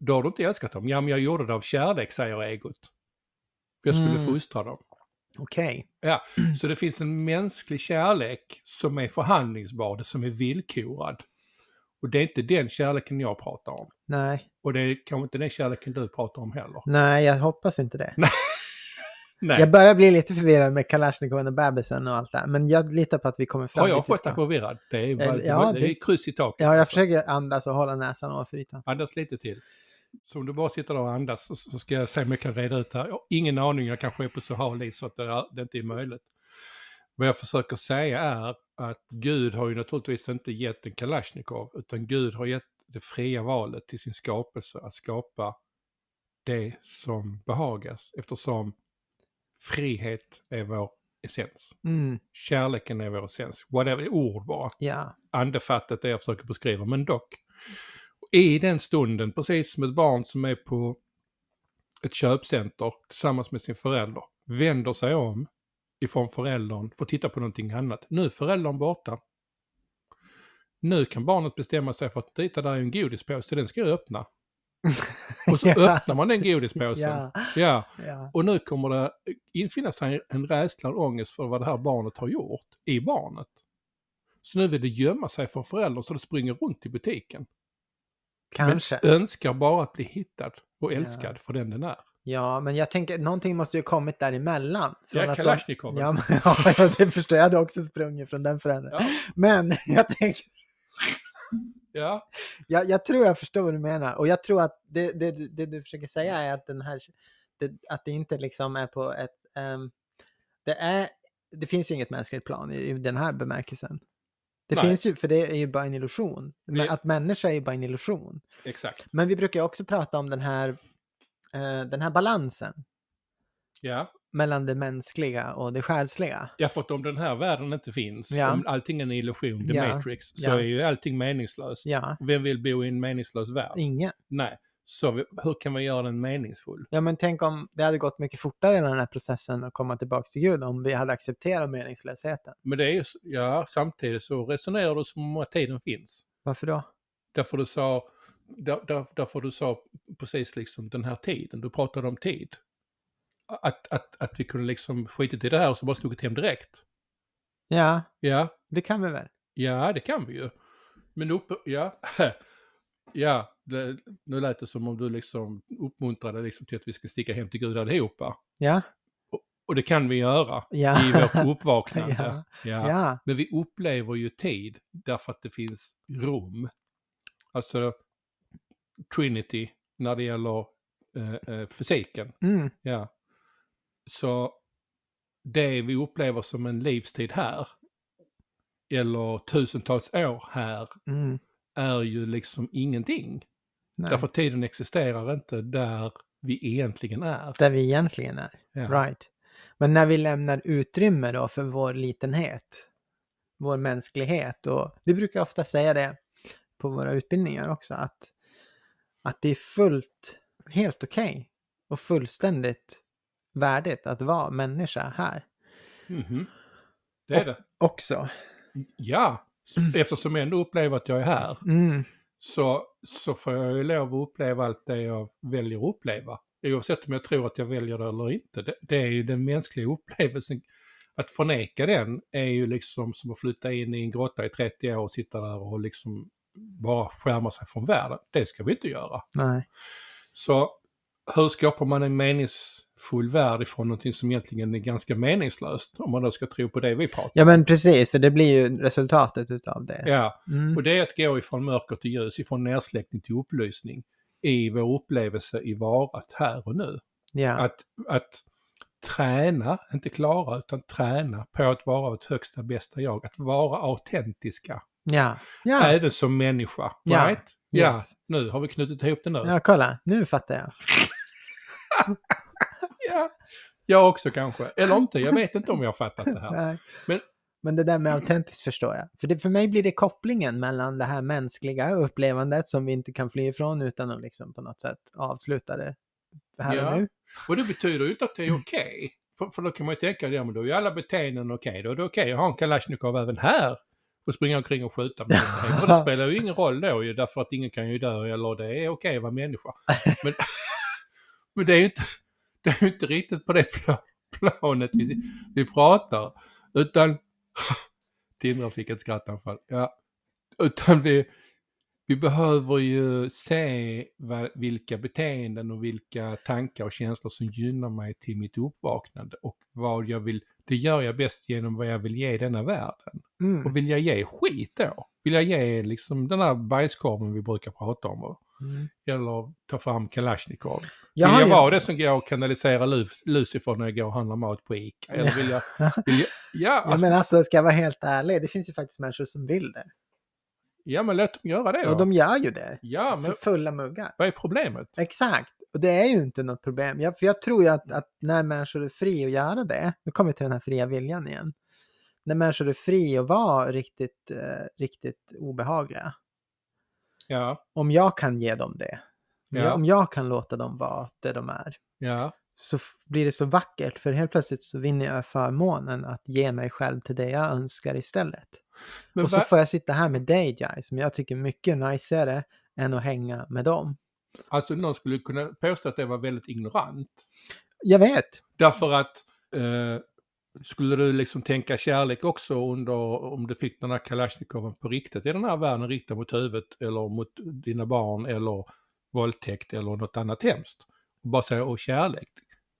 Speaker 2: Då har du inte älskat dem. Ja, men jag gjorde det av kärlek, säger egot. För jag skulle
Speaker 1: Mm.
Speaker 2: fostra dem.
Speaker 1: Okej.
Speaker 2: Så det finns en mänsklig kärlek som är förhandlingsbar, det som är villkorad. Och det är inte den kärleken jag pratar om.
Speaker 1: Nej.
Speaker 2: Och det är kanske inte den kärleken du pratar om heller.
Speaker 1: Nej, jag hoppas inte det.
Speaker 2: Nej.
Speaker 1: Jag börjar bli lite förvirrad med Kalashnikoven och bebisen och allt det här, men jag litar på att vi kommer fram
Speaker 2: har jag
Speaker 1: dit vi
Speaker 2: fått
Speaker 1: ska.
Speaker 2: dig förvirrad? Det är, bara,
Speaker 1: Eh, ja,
Speaker 2: det är
Speaker 1: det-
Speaker 2: kryss i taket.
Speaker 1: Ja, jag
Speaker 2: alltså.
Speaker 1: försöker andas och hålla näsan ovanför ytan.
Speaker 2: Andas lite till. Så om du bara sitter där och andas så, så ska jag se om jag kan reda ut det här. Jag har ingen aning, jag kanske är på så hal is så att det, är, det inte är möjligt. Vad jag försöker säga är att Gud har ju naturligtvis inte gett en Kalashnikov, utan Gud har gett det fria valet till sin skapelse att skapa det som behagas eftersom frihet är vår essens.
Speaker 1: Mm,
Speaker 2: Kärleken är vår essens. Whatever, det är ord bara
Speaker 1: ja.
Speaker 2: andefattat det jag försöker beskriva, men dock. I den stunden, precis som ett barn som är på ett köpcenter tillsammans med sin förälder, vänder sig om ifrån föräldern för att titta på någonting annat. Nu är föräldern borta. Nu kan barnet bestämma sig för att titta, där är ju en godispåse, den ska jag öppna. Och så
Speaker 1: Ja.
Speaker 2: öppnar man den godispåsen.
Speaker 1: Ja,
Speaker 2: ja.
Speaker 1: ja.
Speaker 2: Och nu kommer det infinna sig en rädsla och ångest för vad det här barnet har gjort i barnet. Så nu vill det gömma sig från föräldern så det springer runt i butiken.
Speaker 1: Kanske.
Speaker 2: Men önskar bara att bli hittad och älskad för den den är.
Speaker 1: Ja, men jag tänker, någonting måste ju kommit däremellan.
Speaker 2: Det är
Speaker 1: att de-
Speaker 2: Kalashnikov.
Speaker 1: Ja, men, ja, det förstår jag. Jag hade också sprungit från den förändringen.
Speaker 2: Ja,
Speaker 1: Men jag, tänker,
Speaker 2: ja,
Speaker 1: jag, jag tror jag förstår vad du menar. Och jag tror att det, det, du- det du försöker säga är att, den här, det, att det inte liksom är på ett... ehm, det, är, det finns ju inget mänskligt plan i, i den här bemärkelsen. Det
Speaker 2: Nej.
Speaker 1: finns ju, för det är ju bara en illusion. Men
Speaker 2: Det-
Speaker 1: Att människa är ju bara en illusion.
Speaker 2: exakt.
Speaker 1: Men vi brukar ju också prata om den här, eh, den här balansen
Speaker 2: Ja.
Speaker 1: mellan det mänskliga och det själsliga.
Speaker 2: ja, för att om den här världen inte finns,
Speaker 1: Ja.
Speaker 2: om allting är en illusion, the
Speaker 1: Ja.
Speaker 2: matrix, så
Speaker 1: Ja.
Speaker 2: är ju allting meningslöst.
Speaker 1: Ja,
Speaker 2: Vem vill bo i en meningslös värld?
Speaker 1: ingen.
Speaker 2: Nej. Så vi, hur kan vi göra den meningsfull?
Speaker 1: Ja, men tänk om det hade gått mycket fortare i den här processen att komma tillbaka till Gud om vi hade accepterat meningslösheten.
Speaker 2: Men det är ju, s- ja, samtidigt så resonerar du som om att tiden finns.
Speaker 1: Varför då?
Speaker 2: Därför du sa, där, där, därför du sa precis liksom den här tiden, du pratade om tid. Att, att, att vi kunde liksom skitit i det här och så bara slog hem direkt.
Speaker 1: Ja,
Speaker 2: Ja,
Speaker 1: det kan vi väl?
Speaker 2: ja det kan vi ju. Men uppe, ja, ja, det, nu lät det som om du liksom uppmuntrade liksom till att vi ska sticka hem till Gud allihopa.
Speaker 1: Ja,
Speaker 2: Och det kan vi göra
Speaker 1: ja.
Speaker 2: i vårt uppvaknande.
Speaker 1: ja.
Speaker 2: Ja.
Speaker 1: ja.
Speaker 2: Men vi upplever ju tid därför att det finns rum. Alltså Trinity när det gäller eh, eh, fysiken.
Speaker 1: Mm.
Speaker 2: Ja. Så det vi upplever som en livstid här, eller tusentals år här,
Speaker 1: Mm.
Speaker 2: är ju liksom ingenting.
Speaker 1: Nej.
Speaker 2: Därför att tiden existerar inte där vi egentligen är.
Speaker 1: Där vi egentligen är.
Speaker 2: Ja.
Speaker 1: Right. Men när vi lämnar utrymme då för vår litenhet, vår mänsklighet och vi brukar ofta säga det på våra utbildningar också att, att det är fullt, helt okej och fullständigt värdigt att vara människa här
Speaker 2: Mhm. Det är det.
Speaker 1: också.
Speaker 2: Ja, eftersom jag ändå upplever att jag är här
Speaker 1: Mm.
Speaker 2: så, så får jag ju lov att uppleva allt det jag väljer att uppleva. Oavsett om jag tror att jag väljer det eller inte. Det, det är ju den mänskliga upplevelsen. Att förneka den är ju liksom som att flytta in i en grotta i 30 år och sitta där och liksom bara skärma sig från världen. Det ska vi inte göra.
Speaker 1: Nej.
Speaker 2: Så hur skapar man en meningsfull värld ifrån någonting som egentligen är ganska meningslöst? Om man då ska tro på det vi pratar om.
Speaker 1: Ja men precis, för det blir ju resultatet utav det.
Speaker 2: Ja.
Speaker 1: Mm.
Speaker 2: Och det är att gå ifrån mörker till ljus, ifrån nedsläckning till upplysning i vår upplevelse i varat här och nu.
Speaker 1: ja.
Speaker 2: Att, att träna, inte klara, utan träna på att vara ett högsta bästa jag. Att vara autentiska,
Speaker 1: ja. Ja.
Speaker 2: även som människa.
Speaker 1: Ja.
Speaker 2: Right? Ja,
Speaker 1: Yes.
Speaker 2: nu har vi knutit ihop det nu.
Speaker 1: ja, kolla, nu fattar jag.
Speaker 2: Ja. Jag också kanske, eller inte, jag vet inte om jag har fattat det här.
Speaker 1: Nej.
Speaker 2: Men- Mm.
Speaker 1: Men det där med autentiskt förstår jag. För, det, för mig blir det kopplingen mellan det här mänskliga upplevandet som vi inte kan fly ifrån utan att liksom på något sätt avsluta det här
Speaker 2: Ja.
Speaker 1: och nu.
Speaker 2: Och det betyder ju inte att det är okej. För, för då kan man ju tänka, ja men då är ju alla beteenden okej. Då är det okej att ha en Kalashnikov även här och springa omkring och skjuta på någonting. Och det spelar ju ingen roll då ju, därför att ingen kan ju dö eller det är okej att vara människa. Men, men det är ju inte, det är ju inte riktigt på det pla- planet vi, vi pratar. Utan, Tindra fick ett skrattanfall. Ja. Utan vi, vi behöver ju se va- vilka beteenden och vilka tankar och känslor som gynnar mig till mitt uppvaknande och vad jag vill, det gör jag bäst genom vad jag vill ge denna världen.
Speaker 1: Mm.
Speaker 2: Och vill jag ge skit då? Vill jag ge liksom den här bajskorven vi brukar prata om? och-
Speaker 1: Mm.
Speaker 2: Eller ta fram Kalashnikov? Vill
Speaker 1: Jag har
Speaker 2: jag
Speaker 1: ju-
Speaker 2: vara det som går och kanalisera Luf- Lucifer när jag går och handlar mat på Ica? Eller vill jag... Vill jag ja,
Speaker 1: Ja,
Speaker 2: alltså,
Speaker 1: men alltså, ska jag vara helt ärlig, det finns ju faktiskt människor som vill det.
Speaker 2: ja, men låt dem göra det då.
Speaker 1: Och de gör ju det.
Speaker 2: Ja,
Speaker 1: För
Speaker 2: men
Speaker 1: fulla muggar.
Speaker 2: vad är problemet?
Speaker 1: Exakt. Och det är ju inte något problem. Jag, för jag tror ju att, att när människor är fri att göra det, nu kommer vi till den här fria viljan igen. När människor är fri att vara riktigt, eh, riktigt obehagliga,
Speaker 2: Ja,
Speaker 1: om jag kan ge dem det, om
Speaker 2: Ja.
Speaker 1: jag- om jag kan låta dem vara det de är,
Speaker 2: ja,
Speaker 1: så f- blir det så vackert för helt plötsligt så vinner jag förmånen att ge mig själv till det jag önskar istället.
Speaker 2: Men
Speaker 1: och så
Speaker 2: va-
Speaker 1: får jag sitta här med dig Jai, som jag tycker är mycket najsigare än att hänga med dem.
Speaker 2: alltså någon skulle kunna påstå att det var väldigt ignorant.
Speaker 1: Jag vet!
Speaker 2: Därför att eh, skulle du liksom tänka kärlek också under, om du fick den här kalasjnikoven på riktigt i den här världen riktad mot huvudet eller mot dina barn eller våldtäkt eller något annat hemskt. Och bara säga åh kärlek.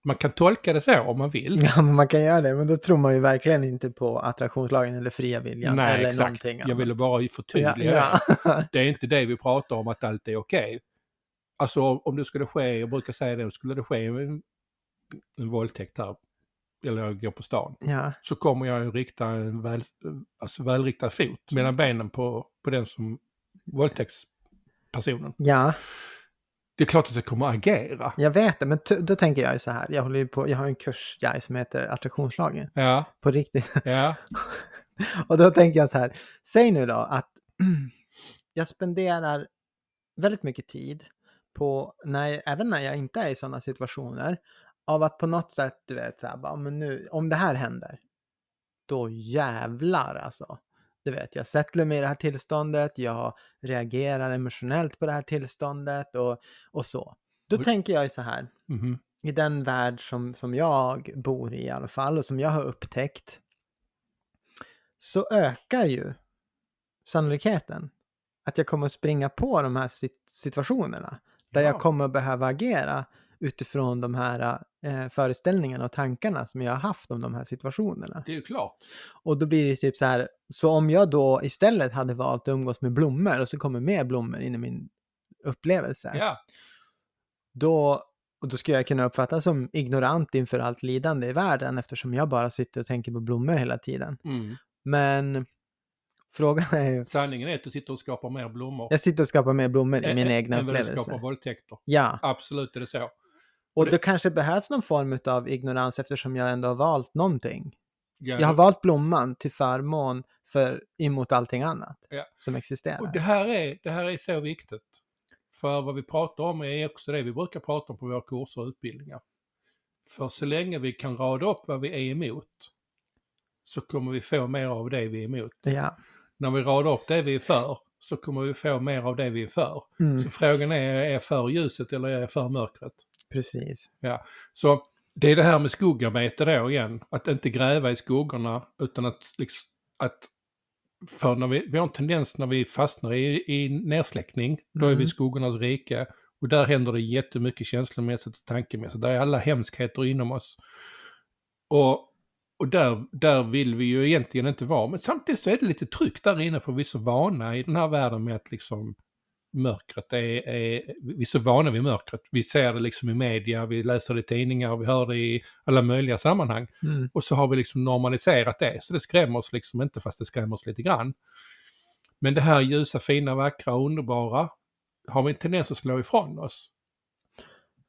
Speaker 2: Man kan tolka det så om man vill.
Speaker 1: Ja, men man kan göra det, men då tror man ju verkligen inte på attraktionslagen eller fria viljan.
Speaker 2: Nej,
Speaker 1: eller
Speaker 2: exakt.
Speaker 1: någonting
Speaker 2: Jag ville bara förtydliga
Speaker 1: ja, ja.
Speaker 2: det. Det är inte det vi pratar om, att allt är okej. Alltså om om det skulle ske, jag brukar säga det, skulle det ske en, en våldtäkt här, eller jag går på stan,
Speaker 1: ja,
Speaker 2: så kommer jag ju rikta en väl, alltså välriktad fot mellan benen på, på den som våldtäktspersonen.
Speaker 1: ja,
Speaker 2: Det är klart att jag kommer agera.
Speaker 1: jag vet det, men t- då tänker jag ju så här, jag håller ju på, jag har en kurs Jai som heter attraktionslagen,
Speaker 2: Ja,
Speaker 1: på riktigt.
Speaker 2: ja,
Speaker 1: Och då tänker jag så här, säg nu då att jag spenderar väldigt mycket tid på, när, även när jag inte är i sådana situationer, av att på något sätt, du vet, så här, bara, men nu, om det här händer, då jävlar alltså. Du vet, jag sätter mig i det här tillståndet, jag reagerar emotionellt på det här tillståndet och, och så. Då
Speaker 2: Och-
Speaker 1: tänker jag ju så här,
Speaker 2: mhm,
Speaker 1: i den värld som, som jag bor i i alla fall och som jag har upptäckt så ökar ju sannolikheten att jag kommer att springa på de här sit- situationerna där
Speaker 2: Ja.
Speaker 1: jag kommer att behöva agera utifrån de här eh, föreställningarna och tankarna som jag har haft om de här situationerna.
Speaker 2: det är ju klart.
Speaker 1: Och då blir det typ så här, så om jag då istället hade valt att umgås med blommor och så kommer mer blommor in i min upplevelse
Speaker 2: Ja,
Speaker 1: då Och då skulle jag kunna uppfattas som ignorant inför allt lidande i världen eftersom jag bara sitter och tänker på blommor hela tiden.
Speaker 2: Mm.
Speaker 1: Men frågan är ju,
Speaker 2: Sanningen är att du sitter och skapar mer blommor.
Speaker 1: jag sitter och skapar mer blommor i
Speaker 2: ä-
Speaker 1: min
Speaker 2: ä-
Speaker 1: egna
Speaker 2: än vad du skapar
Speaker 1: upplevelse.
Speaker 2: våldtäkter.
Speaker 1: Ja,
Speaker 2: Absolut är det så.
Speaker 1: och
Speaker 2: det-
Speaker 1: då kanske behövs någon form av ignorans eftersom jag ändå har valt någonting.
Speaker 2: Ja,
Speaker 1: Jag har valt blomman till förmån för emot allting annat
Speaker 2: Ja.
Speaker 1: som existerar.
Speaker 2: och det, här är, det här är så viktigt. För vad vi pratar om är också det vi brukar prata om på våra kurser och utbildningar. För så länge vi kan rada upp vad vi är emot så kommer vi få mer av det vi är emot.
Speaker 1: Ja.
Speaker 2: När vi radar upp det vi är för så kommer vi få mer av det vi är för.
Speaker 1: Mm,
Speaker 2: Så frågan är, är jag för ljuset eller är jag för mörkret?
Speaker 1: precis.
Speaker 2: Så det är det här med skuggarbete då igen. Att inte gräva i skuggorna utan att, liksom, att för när vi, vi har en tendens när vi fastnar i, i nedsläckning, då är vi i
Speaker 1: Mm.
Speaker 2: skuggornas rike. Och där händer det jättemycket känslomässigt och tankemässigt. Där är alla hemskheter inom oss. Och, och där, där vill vi ju egentligen inte vara. Men samtidigt så är det lite tryck där inne för vi är så vana i den här världen med att liksom mörkret är, är, vi är så vana vid mörkret. Vi ser det liksom i media, vi läser det i tidningar, vi hör det i alla möjliga sammanhang.
Speaker 1: Mm.
Speaker 2: Och så har vi liksom normaliserat det, så det skrämmer oss liksom inte fast det skrämmer oss lite grann. Men det här ljusa, fina, vackra, underbara har vi en tendens att slå ifrån oss.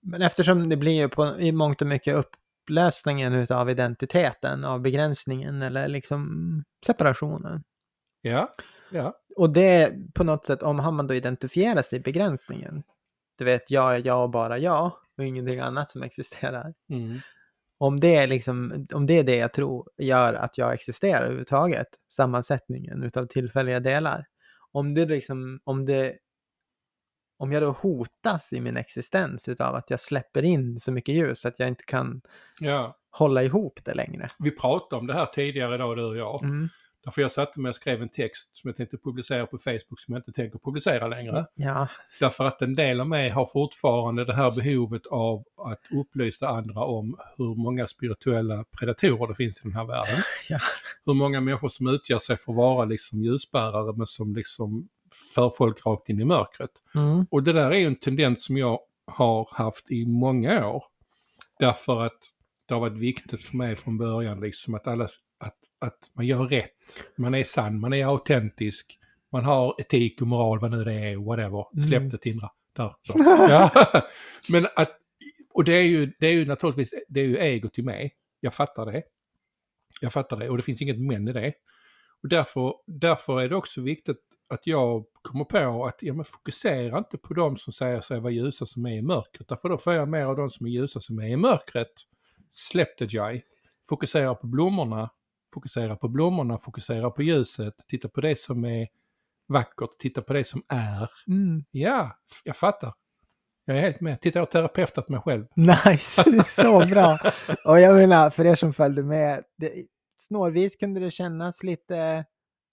Speaker 1: Men eftersom det blir ju på, i mångt och mycket upplösningen utav identiteten, av begränsningen eller liksom separationen.
Speaker 2: Ja, ja,
Speaker 1: Och det är på något sätt, om han man då identifierar sig i begränsningen, du vet jag är jag och bara jag och ingenting annat som existerar.
Speaker 2: mm,
Speaker 1: Om det, är liksom, om det är det jag tror gör att jag existerar överhuvudtaget, sammansättningen utav tillfälliga delar. Om det liksom, om det, om jag då hotas i min existens utav att jag släpper in så mycket ljus att jag inte kan
Speaker 2: ja.
Speaker 1: hålla ihop det längre.
Speaker 2: Vi pratade om det här tidigare idag, du och jag.
Speaker 1: Mm.
Speaker 2: Därför jag satte mig och skrev en text som jag tänkte publicera på Facebook som jag inte tänker publicera längre.
Speaker 1: Ja,
Speaker 2: Därför att en del av mig har fortfarande det här behovet av att upplysa andra om hur många spirituella predatorer det finns i den här världen.
Speaker 1: Ja.
Speaker 2: Hur många människor som utger sig för att vara liksom ljusbärare men som liksom för folk rakt in i mörkret.
Speaker 1: mm.
Speaker 2: Och det där är ju en tendens som jag har haft i många år. Därför att det har varit viktigt för mig från början liksom att, alla, att, att man gör rätt. Man är sann, man är autentisk. Man har etik och moral, vad nu det är, whatever. Släpp
Speaker 1: Mm.
Speaker 2: det Tindra. Där, där. Ja. Men att, och det är ju, det är ju naturligtvis, det är ju egot i mig. Jag fattar det. Jag fattar det och det finns inget men i det. Och därför, därför är det också viktigt att jag kommer på att ja, men fokusera inte på de som säger sig vara ljusa som är i mörkret. Därför då får jag mer av de som är ljusa som är i mörkret. Släpp det Jai. Fokusera på blommorna. Fokusera på blommorna, fokusera på ljuset. Titta på det som är vackert, titta på det som är.
Speaker 1: Mm.
Speaker 2: Ja, jag fattar. Jag är helt med. Titta, jag har terapeutat mig själv.
Speaker 1: Nice, det är så bra. Och jag menar, för er som följde med, det, snårvis kunde det kännas lite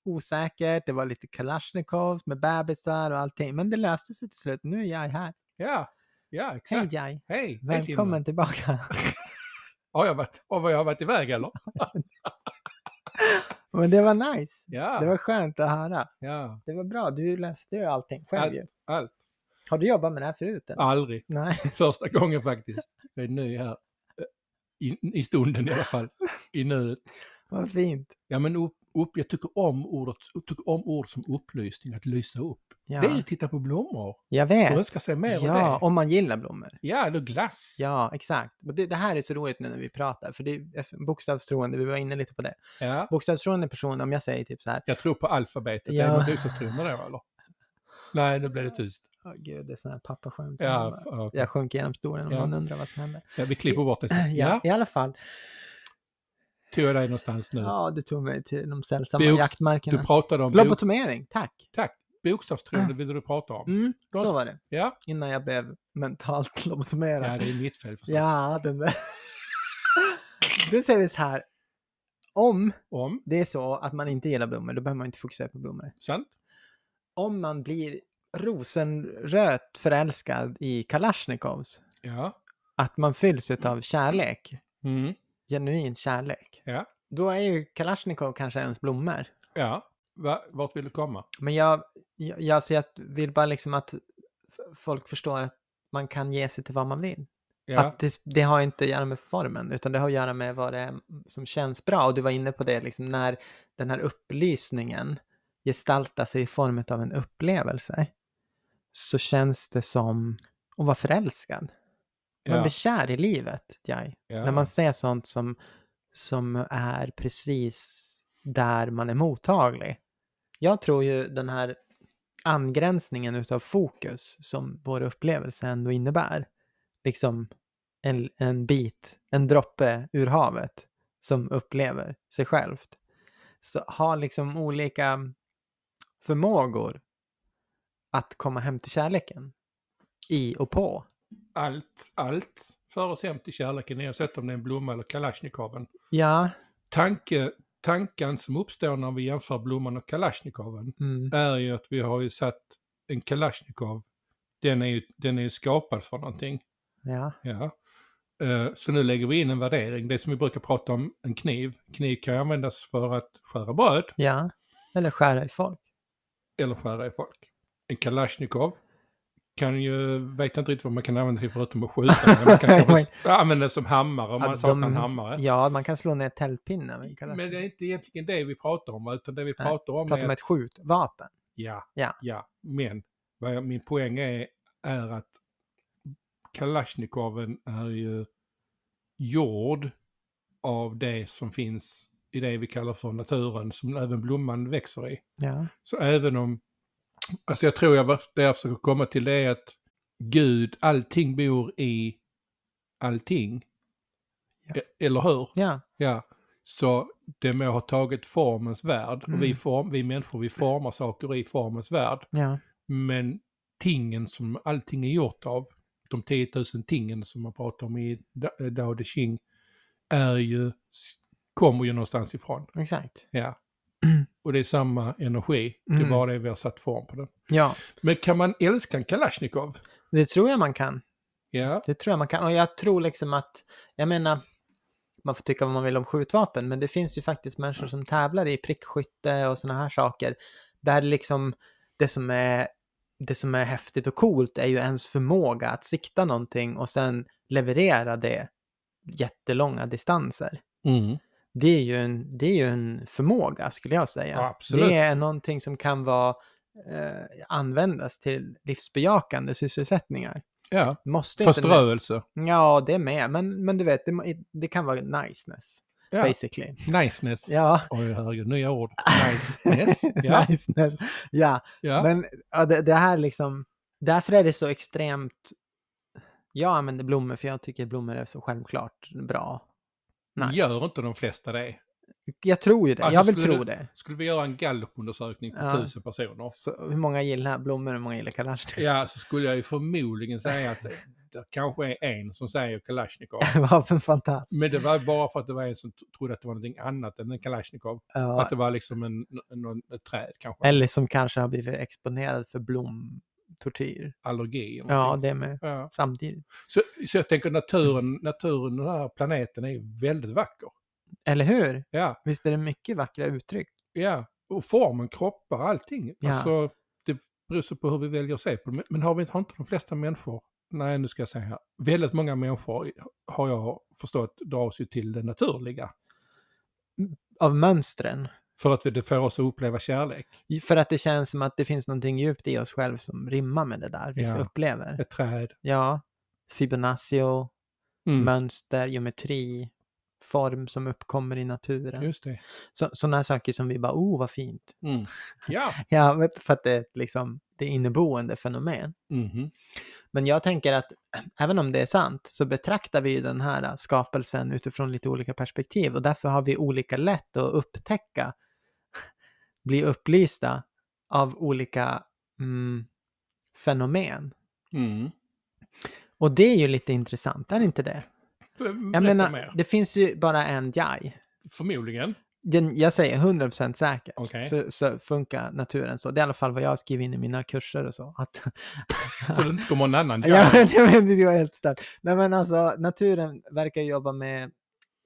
Speaker 1: osäkert, det var lite kalasjnikovs med bebisar och allting, men det löste sig till slut. Nu är jag här.
Speaker 2: Ja, ja exakt.
Speaker 1: Hej
Speaker 2: Hej,
Speaker 1: Jai,
Speaker 2: hej Timmer.
Speaker 1: välkommen tillbaka.
Speaker 2: Har jag varit, har jag varit iväg eller?
Speaker 1: Men det var nice.
Speaker 2: Ja,
Speaker 1: Det var skönt att höra.
Speaker 2: ja.
Speaker 1: Det var bra, du löste ju allting själv ju.
Speaker 2: Allt.
Speaker 1: Har du jobbat med det här förut? Eller?
Speaker 2: Aldrig.
Speaker 1: Nej.
Speaker 2: Första gången faktiskt. Jag är ny här. I, I stunden i alla fall. I nuet.
Speaker 1: Vad fint.
Speaker 2: Ja men upp, upp, jag tycker om ordet, jag tycker om ord som upplysning, att lysa upp. Det är ju
Speaker 1: Ja,
Speaker 2: att titta på blommor
Speaker 1: jag
Speaker 2: och
Speaker 1: vet.
Speaker 2: önska sig mer av
Speaker 1: Ja,
Speaker 2: det.
Speaker 1: om man gillar blommor.
Speaker 2: Ja, eller glass.
Speaker 1: Ja, exakt. Och det, det här är så roligt nu när vi pratar, för det är bokstavstroende, vi var inne lite på det.
Speaker 2: Ja.
Speaker 1: Bokstavstroende person, om jag säger typ så här,
Speaker 2: Jag tror på alfabetet.
Speaker 1: Ja.
Speaker 2: Är man bokstavstroende då eller? Nej, nu blev det tyst.
Speaker 1: åh gud, det är sådana här pappaskämt. som
Speaker 2: Ja,
Speaker 1: bara-
Speaker 2: ja.
Speaker 1: Jag sjunker genom stolen om
Speaker 2: Ja.
Speaker 1: någon undrar vad som händer.
Speaker 2: ja, vi klipper bort det.
Speaker 1: Ja,
Speaker 2: sen. Ja,
Speaker 1: i alla fall.
Speaker 2: tog jag dig någonstans nu.
Speaker 1: Ja, du tog mig till de sällsamma
Speaker 2: Boks-
Speaker 1: jaktmarkerna.
Speaker 2: Du pratade om bok,
Speaker 1: Lobotomering, tack.
Speaker 2: bokstavstroende, ville du prata om.
Speaker 1: Mm,
Speaker 2: Då-
Speaker 1: så var det,
Speaker 2: Ja.
Speaker 1: innan jag blev mentalt
Speaker 2: ja,
Speaker 1: lobotomerad.
Speaker 2: det är mitt fel förstås.
Speaker 1: Ja, den där. Då säger vi så här, om
Speaker 2: Om,
Speaker 1: det är så att man inte gillar blommor, då behöver man inte fokusera på blommor.
Speaker 2: sant?
Speaker 1: om man blir rosenrött förälskad i Kalashnikovs,
Speaker 2: Ja.
Speaker 1: att man fylls av kärlek,
Speaker 2: Mm.
Speaker 1: genuin kärlek,
Speaker 2: Ja.
Speaker 1: då är ju Kalashnikov kanske ens blommor.
Speaker 2: Ja. Va, vart vill du komma?
Speaker 1: Men jag, jag, jag, så jag vill bara liksom att f- folk förstår att man kan ge sig till vad man vill.
Speaker 2: Ja.
Speaker 1: Att det, det har inte att göra med formen, utan det har att göra med vad det är mm, som känns bra. Och du var inne på det, liksom när den här upplysningen gestaltar sig i form av en upplevelse, så känns det som att vara förälskad. Man
Speaker 2: ja,
Speaker 1: blir kär i livet, Jai.
Speaker 2: ja.
Speaker 1: När man ser sånt som, som är precis där man är mottaglig. Jag tror ju den här angränsningen utav fokus som vår upplevelse ändå innebär. Liksom en, en bit, en droppe ur havet som upplever sig självt. Så har liksom olika förmågor att komma hem till kärleken. I och på.
Speaker 2: Allt, allt för oss hem till kärleken oavsett om det är en blomma eller kalasjnikoven.
Speaker 1: Ja.
Speaker 2: Tanke, tanken som uppstår när vi jämför blomman och kalasjnikoven
Speaker 1: Mm.
Speaker 2: är ju att vi har ju satt en kalasjnikov, den är ju, den är ju skapad för någonting.
Speaker 1: Ja.
Speaker 2: Ja. Eh, Så nu lägger vi in en värdering. Det som vi brukar prata om, en kniv. Kniv kan ju användas för att skära bröd
Speaker 1: Ja, eller skära i folk.
Speaker 2: eller skära i folk. En kalasjnikov kan ju, vet inte riktigt vad man kan använda till förutom att skjuta. men Man kan kanske använda den som hammare om man
Speaker 1: Att
Speaker 2: saknar
Speaker 1: de-
Speaker 2: en hammare.
Speaker 1: Ja, man kan slå ner tältpinnar. med kallas
Speaker 2: Men det är inte egentligen det vi pratar om, va? utan det vi
Speaker 1: Nej,
Speaker 2: pratar om
Speaker 1: Pratar
Speaker 2: är
Speaker 1: om ett skjutvapen.
Speaker 2: Ja,
Speaker 1: Ja.
Speaker 2: ja. Men vad jag, min poäng är, är att Kalashnikoven är ju gjord av det som finns i det vi kallar för naturen, som även blomman växer i.
Speaker 1: Ja,
Speaker 2: Så även om, alltså jag tror jag, var- det jag försöker komma till det är att Gud, allting bor i allting.
Speaker 1: Ja.
Speaker 2: E- Eller hur?
Speaker 1: ja,
Speaker 2: Ja, så det må ha tagit formens värld.
Speaker 1: Mm.
Speaker 2: Och vi, form, vi människor, vi formar saker i formens värld.
Speaker 1: ja.
Speaker 2: Men tingen som allting är gjort av, de 10 000 tingen som man pratar om i Da- Dao De Ching, är ju, kommer ju någonstans ifrån.
Speaker 1: exakt.
Speaker 2: Ja. Och det är samma energi, det
Speaker 1: Mm.
Speaker 2: är bara det vi har satt form på den.
Speaker 1: Ja,
Speaker 2: Men kan man älska en Kalashnikov?
Speaker 1: det tror jag man kan.
Speaker 2: Ja,
Speaker 1: Det tror jag man kan. Och jag tror liksom att, jag menar, man får tycka vad man vill om skjutvapen, men det finns ju faktiskt människor som tävlar i prickskytte och sådana här saker. Där liksom det som är det som är häftigt och coolt är ju ens förmåga att sikta någonting och sen leverera det jättelånga distanser.
Speaker 2: mm.
Speaker 1: det är ju en, det är ju en förmåga skulle jag säga.
Speaker 2: Ja, absolut.
Speaker 1: Det är någonting som kan vara, eh, användas till livsbejakande sysselsättningar.
Speaker 2: ja.
Speaker 1: Måste inte...
Speaker 2: förströelse.
Speaker 1: Ja, det är med. Men, men du vet, det, det kan vara niceness,
Speaker 2: Ja.
Speaker 1: basically.
Speaker 2: Niceness.
Speaker 1: Ja.
Speaker 2: Oj, herregud, nya ord. Niceness. Ja,
Speaker 1: niceness. Ja,
Speaker 2: ja.
Speaker 1: men ja, det, det här liksom... Därför är det så extremt... Jag använder blommor för jag tycker blommor är så självklart bra. Nice.
Speaker 2: Gör inte de flesta det?
Speaker 1: Jag tror ju det.
Speaker 2: Alltså,
Speaker 1: jag vill
Speaker 2: skulle
Speaker 1: tro
Speaker 2: du-
Speaker 1: det.
Speaker 2: Skulle vi göra en gallupundersökning på
Speaker 1: Ja.
Speaker 2: tusen personer,
Speaker 1: Så, hur många gillar blommor och hur många gillar kalasjnikov?
Speaker 2: ja, så skulle jag ju förmodligen säga att det, det kanske är en som säger Kalashnikov.
Speaker 1: Vad för en fantast.
Speaker 2: Men det var bara för att det var en som t- trodde att det var någonting annat än en Kalashnikov.
Speaker 1: Ja,
Speaker 2: Att det var liksom en, en, en, ett träd kanske,
Speaker 1: eller som kanske har blivit exponerad för blomtortyr.
Speaker 2: allergi. eller
Speaker 1: Ja,
Speaker 2: någonting.
Speaker 1: det med.
Speaker 2: Ja.
Speaker 1: Samtidigt.
Speaker 2: Så, så jag tänker naturen, naturen, den här planeten är väldigt vacker.
Speaker 1: Eller hur?
Speaker 2: Ja,
Speaker 1: Visst är det mycket vackra uttryck?
Speaker 2: ja. Och formen, kroppar, allting.
Speaker 1: Ja.
Speaker 2: Alltså, det beror så på hur vi väljer att se på det. Men- Men har, vi, inte- har inte de flesta människor, nej nu ska jag säga här, väldigt många människor har jag förstått dras ju till det naturliga.
Speaker 1: Av mönstren.
Speaker 2: För att vi- det får oss att uppleva kärlek.
Speaker 1: För att det känns som att det finns någonting djupt i oss själv som rimmar med det där vi
Speaker 2: Ja.
Speaker 1: upplever.
Speaker 2: Ett träd.
Speaker 1: Ja, Fibonacci,
Speaker 2: Mm.
Speaker 1: mönster, geometri, form som uppkommer i naturen.
Speaker 2: Just det.
Speaker 1: Sådana saker som vi bara, oh vad fint.
Speaker 2: Mm. Ja.
Speaker 1: Ja, men för att det är ett, liksom, det är inneboende fenomen.
Speaker 2: Mhm.
Speaker 1: Men jag tänker att även om det är sant så betraktar vi ju den här äh, skapelsen utifrån lite olika perspektiv och därför har vi olika lätt att upptäcka, bli upplysta av olika mm, fenomen.
Speaker 2: Mm.
Speaker 1: Och det är ju lite intressant, är det inte det? Jag menar,
Speaker 2: mer.
Speaker 1: det finns ju bara en jai.
Speaker 2: Förmodligen.
Speaker 1: Den, jag säger 100% säker.
Speaker 2: Okej.
Speaker 1: Så, så funkar naturen så. Det är i alla fall vad jag skriver in i mina kurser och så. Att,
Speaker 2: Så det inte kommer en annan.
Speaker 1: Ja, men det var- det var helt stört. Nej, men alltså, naturen verkar jobba med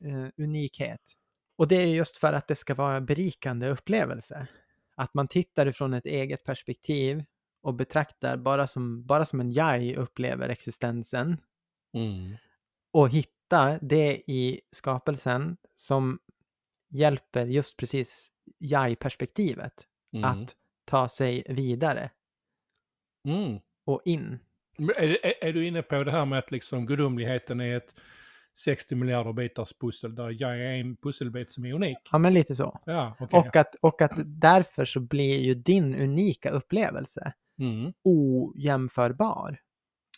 Speaker 1: eh, unikhet. Och det är just för att det ska vara en berikande upplevelse. Att man tittar ifrån ett eget perspektiv och betraktar bara som, bara som en jag upplever existensen.
Speaker 2: Mm.
Speaker 1: och hitta det i skapelsen som hjälper just precis jag-perspektivet
Speaker 2: Mm.
Speaker 1: att ta sig vidare
Speaker 2: Mm.
Speaker 1: och in.
Speaker 2: Men Är, är, är du inne på det här med att liksom gudomligheten är ett 60 miljarder bitars pussel där jag är en pusselbit som är unik?
Speaker 1: Ja, men lite så.
Speaker 2: Ja, okej.
Speaker 1: Och att, och att därför så blir ju din unika upplevelse
Speaker 2: Mm.
Speaker 1: ojämförbar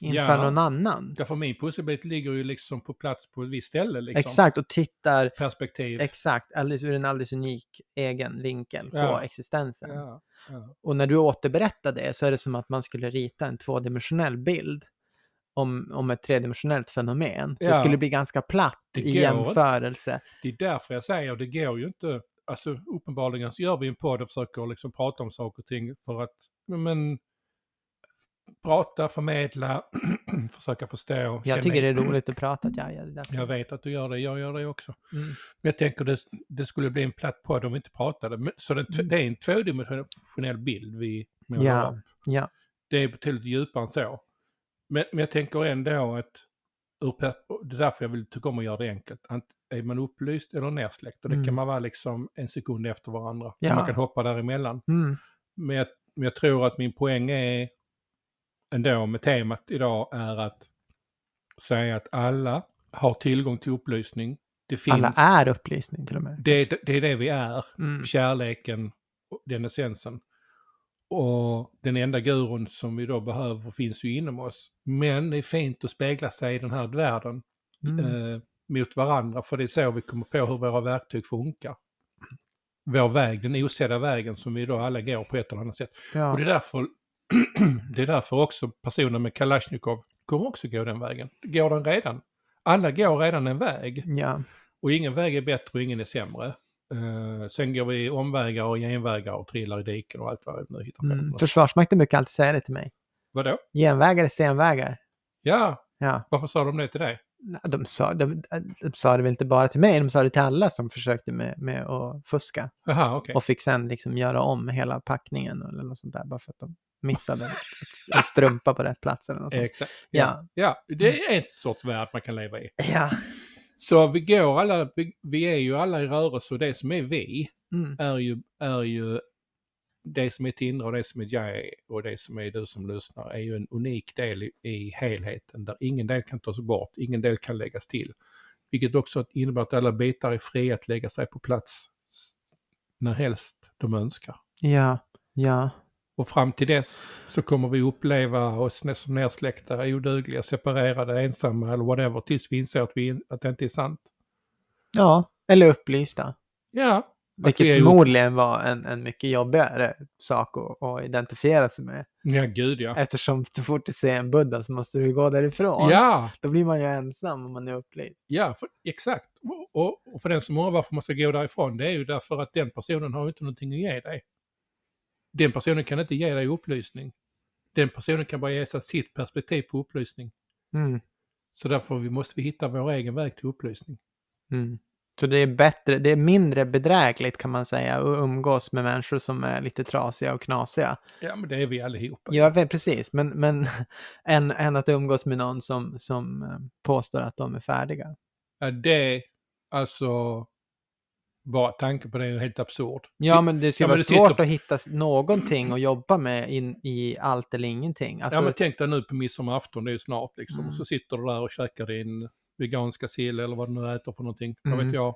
Speaker 1: inför
Speaker 2: Ja.
Speaker 1: någon annan.
Speaker 2: Därför min pusselbit ligger ju liksom på plats på ett visst ställe liksom.
Speaker 1: Exakt, och tittar
Speaker 2: Perspektiv.
Speaker 1: exakt alldeles, ur en alldeles unik egen vinkel på
Speaker 2: Ja.
Speaker 1: existensen.
Speaker 2: ja. ja.
Speaker 1: Och när du återberättar det så är det som att man skulle rita en tvådimensionell bild om, om ett tredimensionellt fenomen. Det
Speaker 2: Ja.
Speaker 1: skulle bli ganska platt
Speaker 2: Det
Speaker 1: i
Speaker 2: går.
Speaker 1: jämförelse.
Speaker 2: Det är därför jag säger, det går ju inte. Alltså uppenbarligen så gör vi en podd och försöker liksom prata om saker och ting för att, men, prata, förmedla, försöka förstå. känna
Speaker 1: Jag tycker det är
Speaker 2: in.
Speaker 1: roligt att prata. Ja, ja, det är därför.
Speaker 2: Jag vet att du gör det, jag gör det också.
Speaker 1: Mm.
Speaker 2: Men jag tänker det, det skulle bli en platt podd om vi inte pratade. Men- Så det, det är en tvådimensionell bild vi målar
Speaker 1: Mm. Ja,
Speaker 2: upp.
Speaker 1: ja.
Speaker 2: Det är betydligt djupare än så. Men, men jag tänker ändå att ur per- det är därför jag vill tycka om att göra det enkelt. Ant- Är man upplyst eller nersläckt? Och det
Speaker 1: Mm.
Speaker 2: kan man vara liksom en sekund efter varandra.
Speaker 1: Ja.
Speaker 2: Man kan hoppa däremellan.
Speaker 1: Mm.
Speaker 2: Men jag, men jag tror att min poäng är ändå med temat idag är att säga att alla har tillgång till upplysning. Det finns.
Speaker 1: Alla är upplysning till och med.
Speaker 2: Det, är- det är det vi är.
Speaker 1: Mm.
Speaker 2: Kärleken, och den essensen. Och den enda gurun som vi då behöver finns ju inom oss. Men det är fint att spegla sig i den här världen
Speaker 1: Mm.
Speaker 2: eh, mot varandra. För det är så vi kommer på hur våra verktyg funkar. Vår väg, den osedda vägen som vi då alla går på ett eller annat sätt.
Speaker 1: Ja.
Speaker 2: Och det är därför, det är därför också personer med Kalashnikov kommer också gå den vägen. Går den redan? Alla går redan en väg.
Speaker 1: ja,
Speaker 2: Och ingen väg är bättre och ingen är sämre. Eh, sen går vi omvägar och genvägar och trillar i diken och allt vad vi nu hittar på. för
Speaker 1: mm.
Speaker 2: något.
Speaker 1: Försvarsmakten brukar alltid säga det till mig.
Speaker 2: Vadå?
Speaker 1: Genvägar är senvägar.
Speaker 2: Ja,
Speaker 1: Ja.
Speaker 2: varför sa de det till dig?
Speaker 1: Nej, De sa, de, de sa det väl inte bara till mig, de sa det till alla som försökte med, med att fuska.
Speaker 2: Jaha, okej.
Speaker 1: Och fick sen liksom göra om hela packningen eller något sånt där bara för att de missade att- att strumpa på rätt plats eller något sånt.
Speaker 2: Exakt.
Speaker 1: Ja. Mm.
Speaker 2: ja, det är en sorts värld man kan leva i.
Speaker 1: Ja.
Speaker 2: Så vi går alla, vi, vi är ju alla i rörelse och det som är vi
Speaker 1: Mm.
Speaker 2: är ju, är ju det som är ett inre och det som är jag är och det som är du som lyssnar är ju en unik del i, i helheten där ingen del kan tas bort, ingen del kan läggas till. Vilket också innebär att alla bitar är fria att lägga sig på plats s- när helst de önskar.
Speaker 1: Ja. Ja.
Speaker 2: Och fram till dess så kommer vi uppleva oss nä- som nersläckta, odugliga, separerade, ensamma eller whatever tills vi inser att, vi, in- att det inte är sant.
Speaker 1: Ja. Eller upplysta.
Speaker 2: Ja,
Speaker 1: Vilket
Speaker 2: vi är
Speaker 1: förmodligen var en, en mycket jobbigare sak att, att identifiera sig med.
Speaker 2: ja gud ja.
Speaker 1: Eftersom så fort du ser en Buddha så måste du gå därifrån.
Speaker 2: Ja,
Speaker 1: Då blir man ju ensam om man är upplyst.
Speaker 2: Ja, för, exakt. Och, och, och för den som undrar varför man ska gå därifrån, det är ju därför att den personen har ju inte någonting att ge dig. Den personen kan inte ge dig upplysning. Den personen kan bara ge sig sitt perspektiv på upplysning.
Speaker 1: Mm.
Speaker 2: Så därför vi måste vi hitta vår egen väg till upplysning.
Speaker 1: Mm. Så det är bättre, det är mindre bedrägligt kan man säga att umgås med människor som är lite trasiga och knasiga.
Speaker 2: Ja, men det är vi allihopa.
Speaker 1: Ja, ve- precis. Men, men än, än att umgås med någon som, som eh, påstår att de är färdiga.
Speaker 2: Ja, det, alltså, bara tanken på det är ju helt absurd.
Speaker 1: Ja, men det ska
Speaker 2: ja, men
Speaker 1: vara
Speaker 2: du
Speaker 1: svårt
Speaker 2: sitter-
Speaker 1: att hitta s- någonting att jobba med in, i allt eller ingenting. Alltså,
Speaker 2: Ja, men tänk dig nu på midsommarafton, det är ju snart liksom.
Speaker 1: Mm.
Speaker 2: Och så sitter du där och käkar din veganska sill eller vad du nu äter för någonting, vad
Speaker 1: Mm.
Speaker 2: vet jag.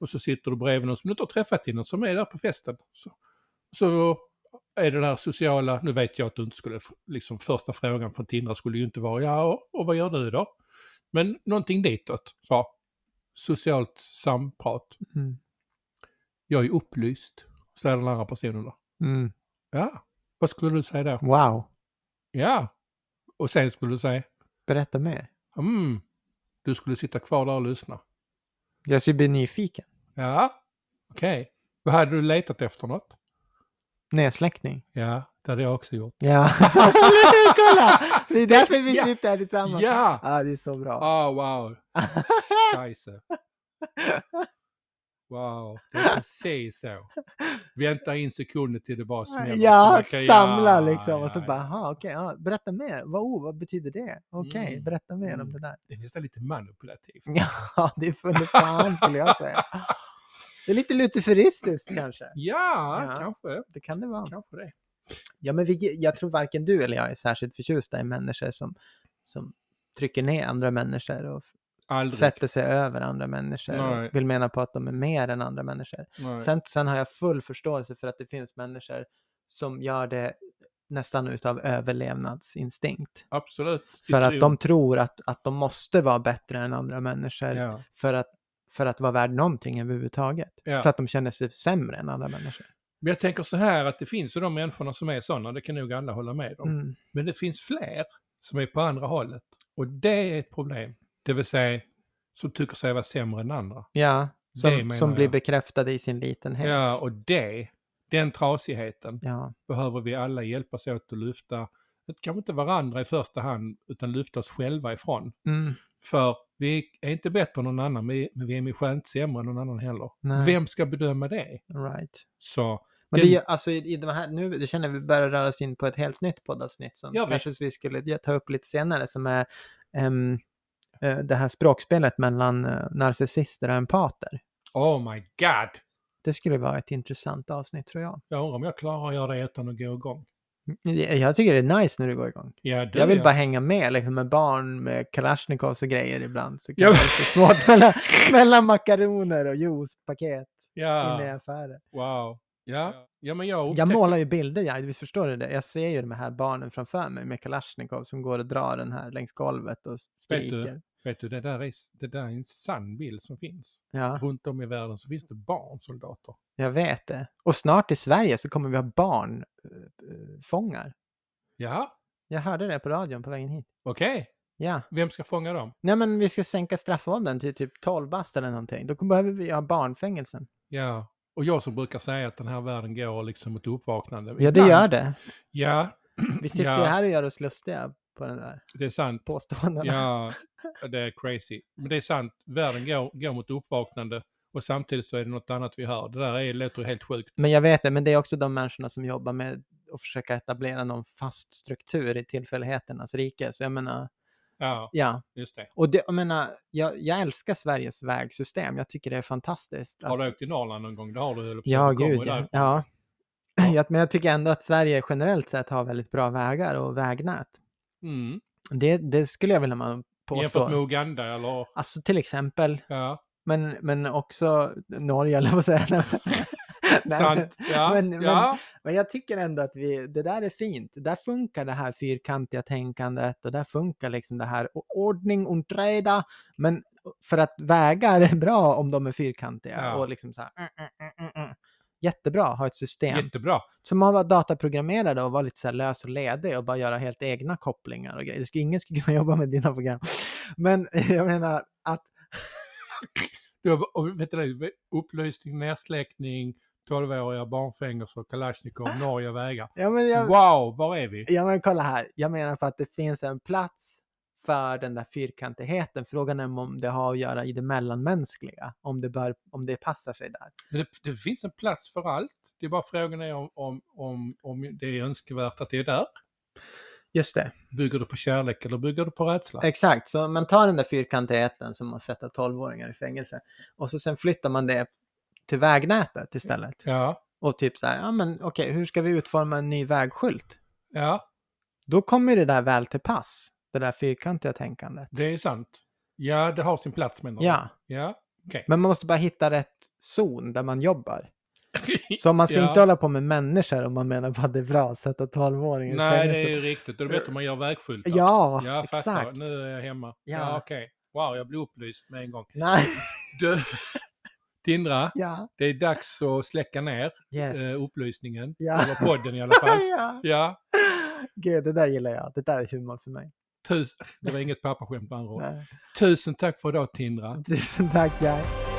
Speaker 2: Och så sitter du bredvid någon som du inte har träffat innan, som är där på festen. Så, så är det där sociala, nu vet jag att du inte skulle, liksom första frågan från Tindra skulle ju inte vara, ja och, och vad gör du då? Men någonting ditåt, så. Socialt samprat.
Speaker 1: Mm.
Speaker 2: Jag är upplyst, säger den andra personen då.
Speaker 1: Mm.
Speaker 2: Ja, vad skulle du säga då?
Speaker 1: Wow,
Speaker 2: Ja. Och sen skulle du säga,
Speaker 1: berätta mer.
Speaker 2: Mm. Du skulle sitta kvar där och lyssna.
Speaker 1: Jag skulle bli nyfiken.
Speaker 2: Ja, okej. Vad hade du letat efter något?
Speaker 1: Nedsläckning.
Speaker 2: Ja, det hade jag också gjort.
Speaker 1: Ja, kolla! Det är därför vi
Speaker 2: Ja.
Speaker 1: sitter här tillsammans.
Speaker 2: Ja!
Speaker 1: Ja, det är så bra.
Speaker 2: Ah, wow. Scheisse. Wow, det är precis så. Vänta in sekunder till det bara smäller. så
Speaker 1: Ja,
Speaker 2: man kan-
Speaker 1: samla liksom. och så
Speaker 2: ja,
Speaker 1: bara,
Speaker 2: ja.
Speaker 1: aha, okej, ja, berätta mer. Vad, oh, vad betyder det? Okej,
Speaker 2: Mm.
Speaker 1: berätta mer
Speaker 2: Mm.
Speaker 1: om det där.
Speaker 2: Det är nästan lite manipulativt.
Speaker 1: Ja, det är för fan skulle jag säga. Det är lite lutheristiskt kanske.
Speaker 2: Ja,
Speaker 1: Ja.
Speaker 2: kanske.
Speaker 1: Det kan det vara.
Speaker 2: Kanske det.
Speaker 1: Ja, men vi, jag tror varken du eller jag är särskilt förtjusta i människor som, som trycker ner andra människor och f-
Speaker 2: Aldrig.
Speaker 1: sätter sig över andra människor
Speaker 2: Nej.
Speaker 1: och vill mena på att de är mer än andra människor.
Speaker 2: Nej.
Speaker 1: Sen, sen har jag full förståelse för att det finns människor som gör det nästan utav överlevnadsinstinkt.
Speaker 2: Absolut.
Speaker 1: För att
Speaker 2: Yttre-
Speaker 1: de tror att, att de måste vara bättre än andra människor
Speaker 2: Ja.
Speaker 1: för, att, för att vara värd någonting överhuvudtaget.
Speaker 2: Ja.
Speaker 1: För att de känner sig sämre än andra människor.
Speaker 2: Men jag tänker så här att det finns ju de människorna som är sådana, det kan nog alla hålla med om.
Speaker 1: Mm.
Speaker 2: Men det finns fler som är på andra hållet. Och det är ett problem. Det vill säga, som tycker sig vara sämre än andra.
Speaker 1: Ja, som,
Speaker 2: menar
Speaker 1: som blir
Speaker 2: jag.
Speaker 1: bekräftade i sin litenhet.
Speaker 2: Ja, och det, den trasigheten,
Speaker 1: Ja,
Speaker 2: behöver vi alla hjälpas åt att lyfta. Det kanske inte varandra i första hand, utan lyfta oss själva ifrån.
Speaker 1: mm,
Speaker 2: För vi är inte bättre än någon annan, men vi- men vi är med skönt sämre än någon annan heller.
Speaker 1: Nej.
Speaker 2: Vem ska bedöma det?
Speaker 1: right.
Speaker 2: Så,
Speaker 1: Men
Speaker 2: Den-
Speaker 1: det, är ju- alltså i, i de här, nu det känner vi börjar röra oss in på ett helt nytt poddavsnitt som
Speaker 2: Ja,
Speaker 1: kanske vi skulle ta upp lite senare som är ehm, eh, det här språkspelet mellan eh, narcissister och empater.
Speaker 2: oh my god!
Speaker 1: Det skulle vara ett intressant avsnitt tror jag. Mm,
Speaker 2: Jag undrar om jag klarar att göra det utan att gå igång.
Speaker 1: Jag- Jag tycker det är nice när du går igång.
Speaker 2: Ja, du
Speaker 1: Jag vill
Speaker 2: ja.
Speaker 1: bara hänga med liksom med barn med kalasjnikovs och grejer ibland. Så kan
Speaker 2: Ja.
Speaker 1: det vara lite svårt mellan, mellan makaroner och juicepaket inne i
Speaker 2: Ja,
Speaker 1: affären.
Speaker 2: wow. Ja, ja men jag
Speaker 1: Jag målar ju bilder, ja, visst förstår du det? Jag ser ju de här barnen framför mig med Kalashnikov som går och drar den här längs golvet och
Speaker 2: Vet
Speaker 1: skriker.
Speaker 2: du, vet du det, där är, det där är en sann bild som finns.
Speaker 1: Ja,
Speaker 2: Runt om i världen så finns det barnsoldater.
Speaker 1: jag vet det. Och snart i Sverige så kommer vi ha barnfångar.
Speaker 2: Ja,
Speaker 1: Jag hörde det på radion på vägen hit.
Speaker 2: okej.
Speaker 1: Ja,
Speaker 2: Vem ska fånga dem?
Speaker 1: nej men vi ska sänka straffåldern till typ 12 bast eller någonting. Då behöver vi ha barnfängelsen.
Speaker 2: Ja, och jag som brukar säga att den här världen går liksom mot uppvaknande.
Speaker 1: Ja, det
Speaker 2: Ibland-
Speaker 1: gör det.
Speaker 2: Ja,
Speaker 1: Vi sitter ju
Speaker 2: Ja.
Speaker 1: här och gör oss lustiga på den där
Speaker 2: det är sant.
Speaker 1: påståendena.
Speaker 2: Ja, det är crazy. Men det är sant, världen går, går mot uppvaknande och samtidigt så är det något annat vi hör. Det där är, låter ju helt sjukt.
Speaker 1: Men jag vet det, men det är också de människorna som jobbar med att försöka etablera någon fast struktur i tillfälligheternas rike. Så jag menar,
Speaker 2: Ja,
Speaker 1: ja.
Speaker 2: just det.
Speaker 1: Och det, jag menar, jag, jag älskar Sveriges vägsystem. Jag tycker det är fantastiskt.
Speaker 2: Har du åkt till Norrland någon gång? Det har du höll jag på att säga.
Speaker 1: ja,
Speaker 2: Du kommer
Speaker 1: gud
Speaker 2: ju
Speaker 1: ja.
Speaker 2: därifrån.
Speaker 1: ja. Jag, men jag tycker ändå att Sverige generellt sett har väldigt bra vägar och vägnät.
Speaker 2: Mm.
Speaker 1: Det, det skulle jag vilja man
Speaker 2: Jämfört med
Speaker 1: påstå.
Speaker 2: Uganda eller?
Speaker 1: Alltså till exempel,
Speaker 2: Ja,
Speaker 1: men, men också Norge, eller vad säger jag? Nej, men-
Speaker 2: sant. Ja,
Speaker 1: men- men-
Speaker 2: ja.
Speaker 1: Men jag tycker ändå att vi, det där är fint. Där funkar det här fyrkantiga tänkandet och där funkar liksom det här o- ordning und reda. Men för att vägar är bra om de är fyrkantiga
Speaker 2: Ja.
Speaker 1: och liksom så här. mm, mm, mm, mm, mm. Jättebra att ha ett system
Speaker 2: Jättebra.
Speaker 1: som har varit dataprogrammerade och var lite så här lös och ledig och bara göra helt egna kopplingar och grejer. Det skulle- Ingen skulle kunna jobba med dina program. Men jag menar att
Speaker 2: Du, har- och vet du, det, upplysning, nersläckning, 12-åriga barnfängelser, Kalashnikov, Norge och vägar.
Speaker 1: Ah. ja, men jag,
Speaker 2: Wow, var är vi?
Speaker 1: Ja men kolla här, jag menar för att det finns en plats för den där fyrkantigheten. Frågan är om det har att göra i det mellanmänskliga, om det, bör, om det passar sig där.
Speaker 2: Det, det finns en plats för allt. Det är bara frågan är om, om, om, om det är önskvärt att det är där.
Speaker 1: Just det.
Speaker 2: Bygger du på kärlek eller bygger du på rädsla?
Speaker 1: Exakt, så man tar den där fyrkantigheten som att sätta 12-åringar i fängelse och så sen flyttar man det till vägnätet istället.
Speaker 2: Ja,
Speaker 1: Och typ så här, ja men okej, hur ska vi utforma en ny vägskylt?
Speaker 2: ja,
Speaker 1: Då kommer det där väl till pass, det där fyrkantiga tänkandet.
Speaker 2: det är sant. Ja, det har sin plats menar du?
Speaker 1: Ja,
Speaker 2: Ja, okej.
Speaker 1: men man måste bara hitta rätt zon där man jobbar. Så man ska
Speaker 2: Ja.
Speaker 1: inte hålla på med människor om man menar på att det är bra att sätta 12-åringar i
Speaker 2: Nej, det
Speaker 1: fängelse.
Speaker 2: är ju riktigt. Då är det bättre om man gör vägskyltar.
Speaker 1: Ja,
Speaker 2: ja fattar.
Speaker 1: exakt.
Speaker 2: Nu är jag hemma. Ja,
Speaker 1: Ja.
Speaker 2: okej. Wow, jag blev upplyst med en gång.
Speaker 1: Nej,
Speaker 2: Du, Tindra,
Speaker 1: ja,
Speaker 2: det är dags att släcka ner
Speaker 1: yes.
Speaker 2: eh, upplysningen.
Speaker 1: Ja.
Speaker 2: Eller podden i alla fall.
Speaker 1: ja.
Speaker 2: Ja,
Speaker 1: Gud, det där gillar jag. Det där är humor för mig.
Speaker 2: tus- det var inget pappaskämt med andra ord.
Speaker 1: Nej.
Speaker 2: Tusen tack för idag Tindra.
Speaker 1: Tusen tack, Jack.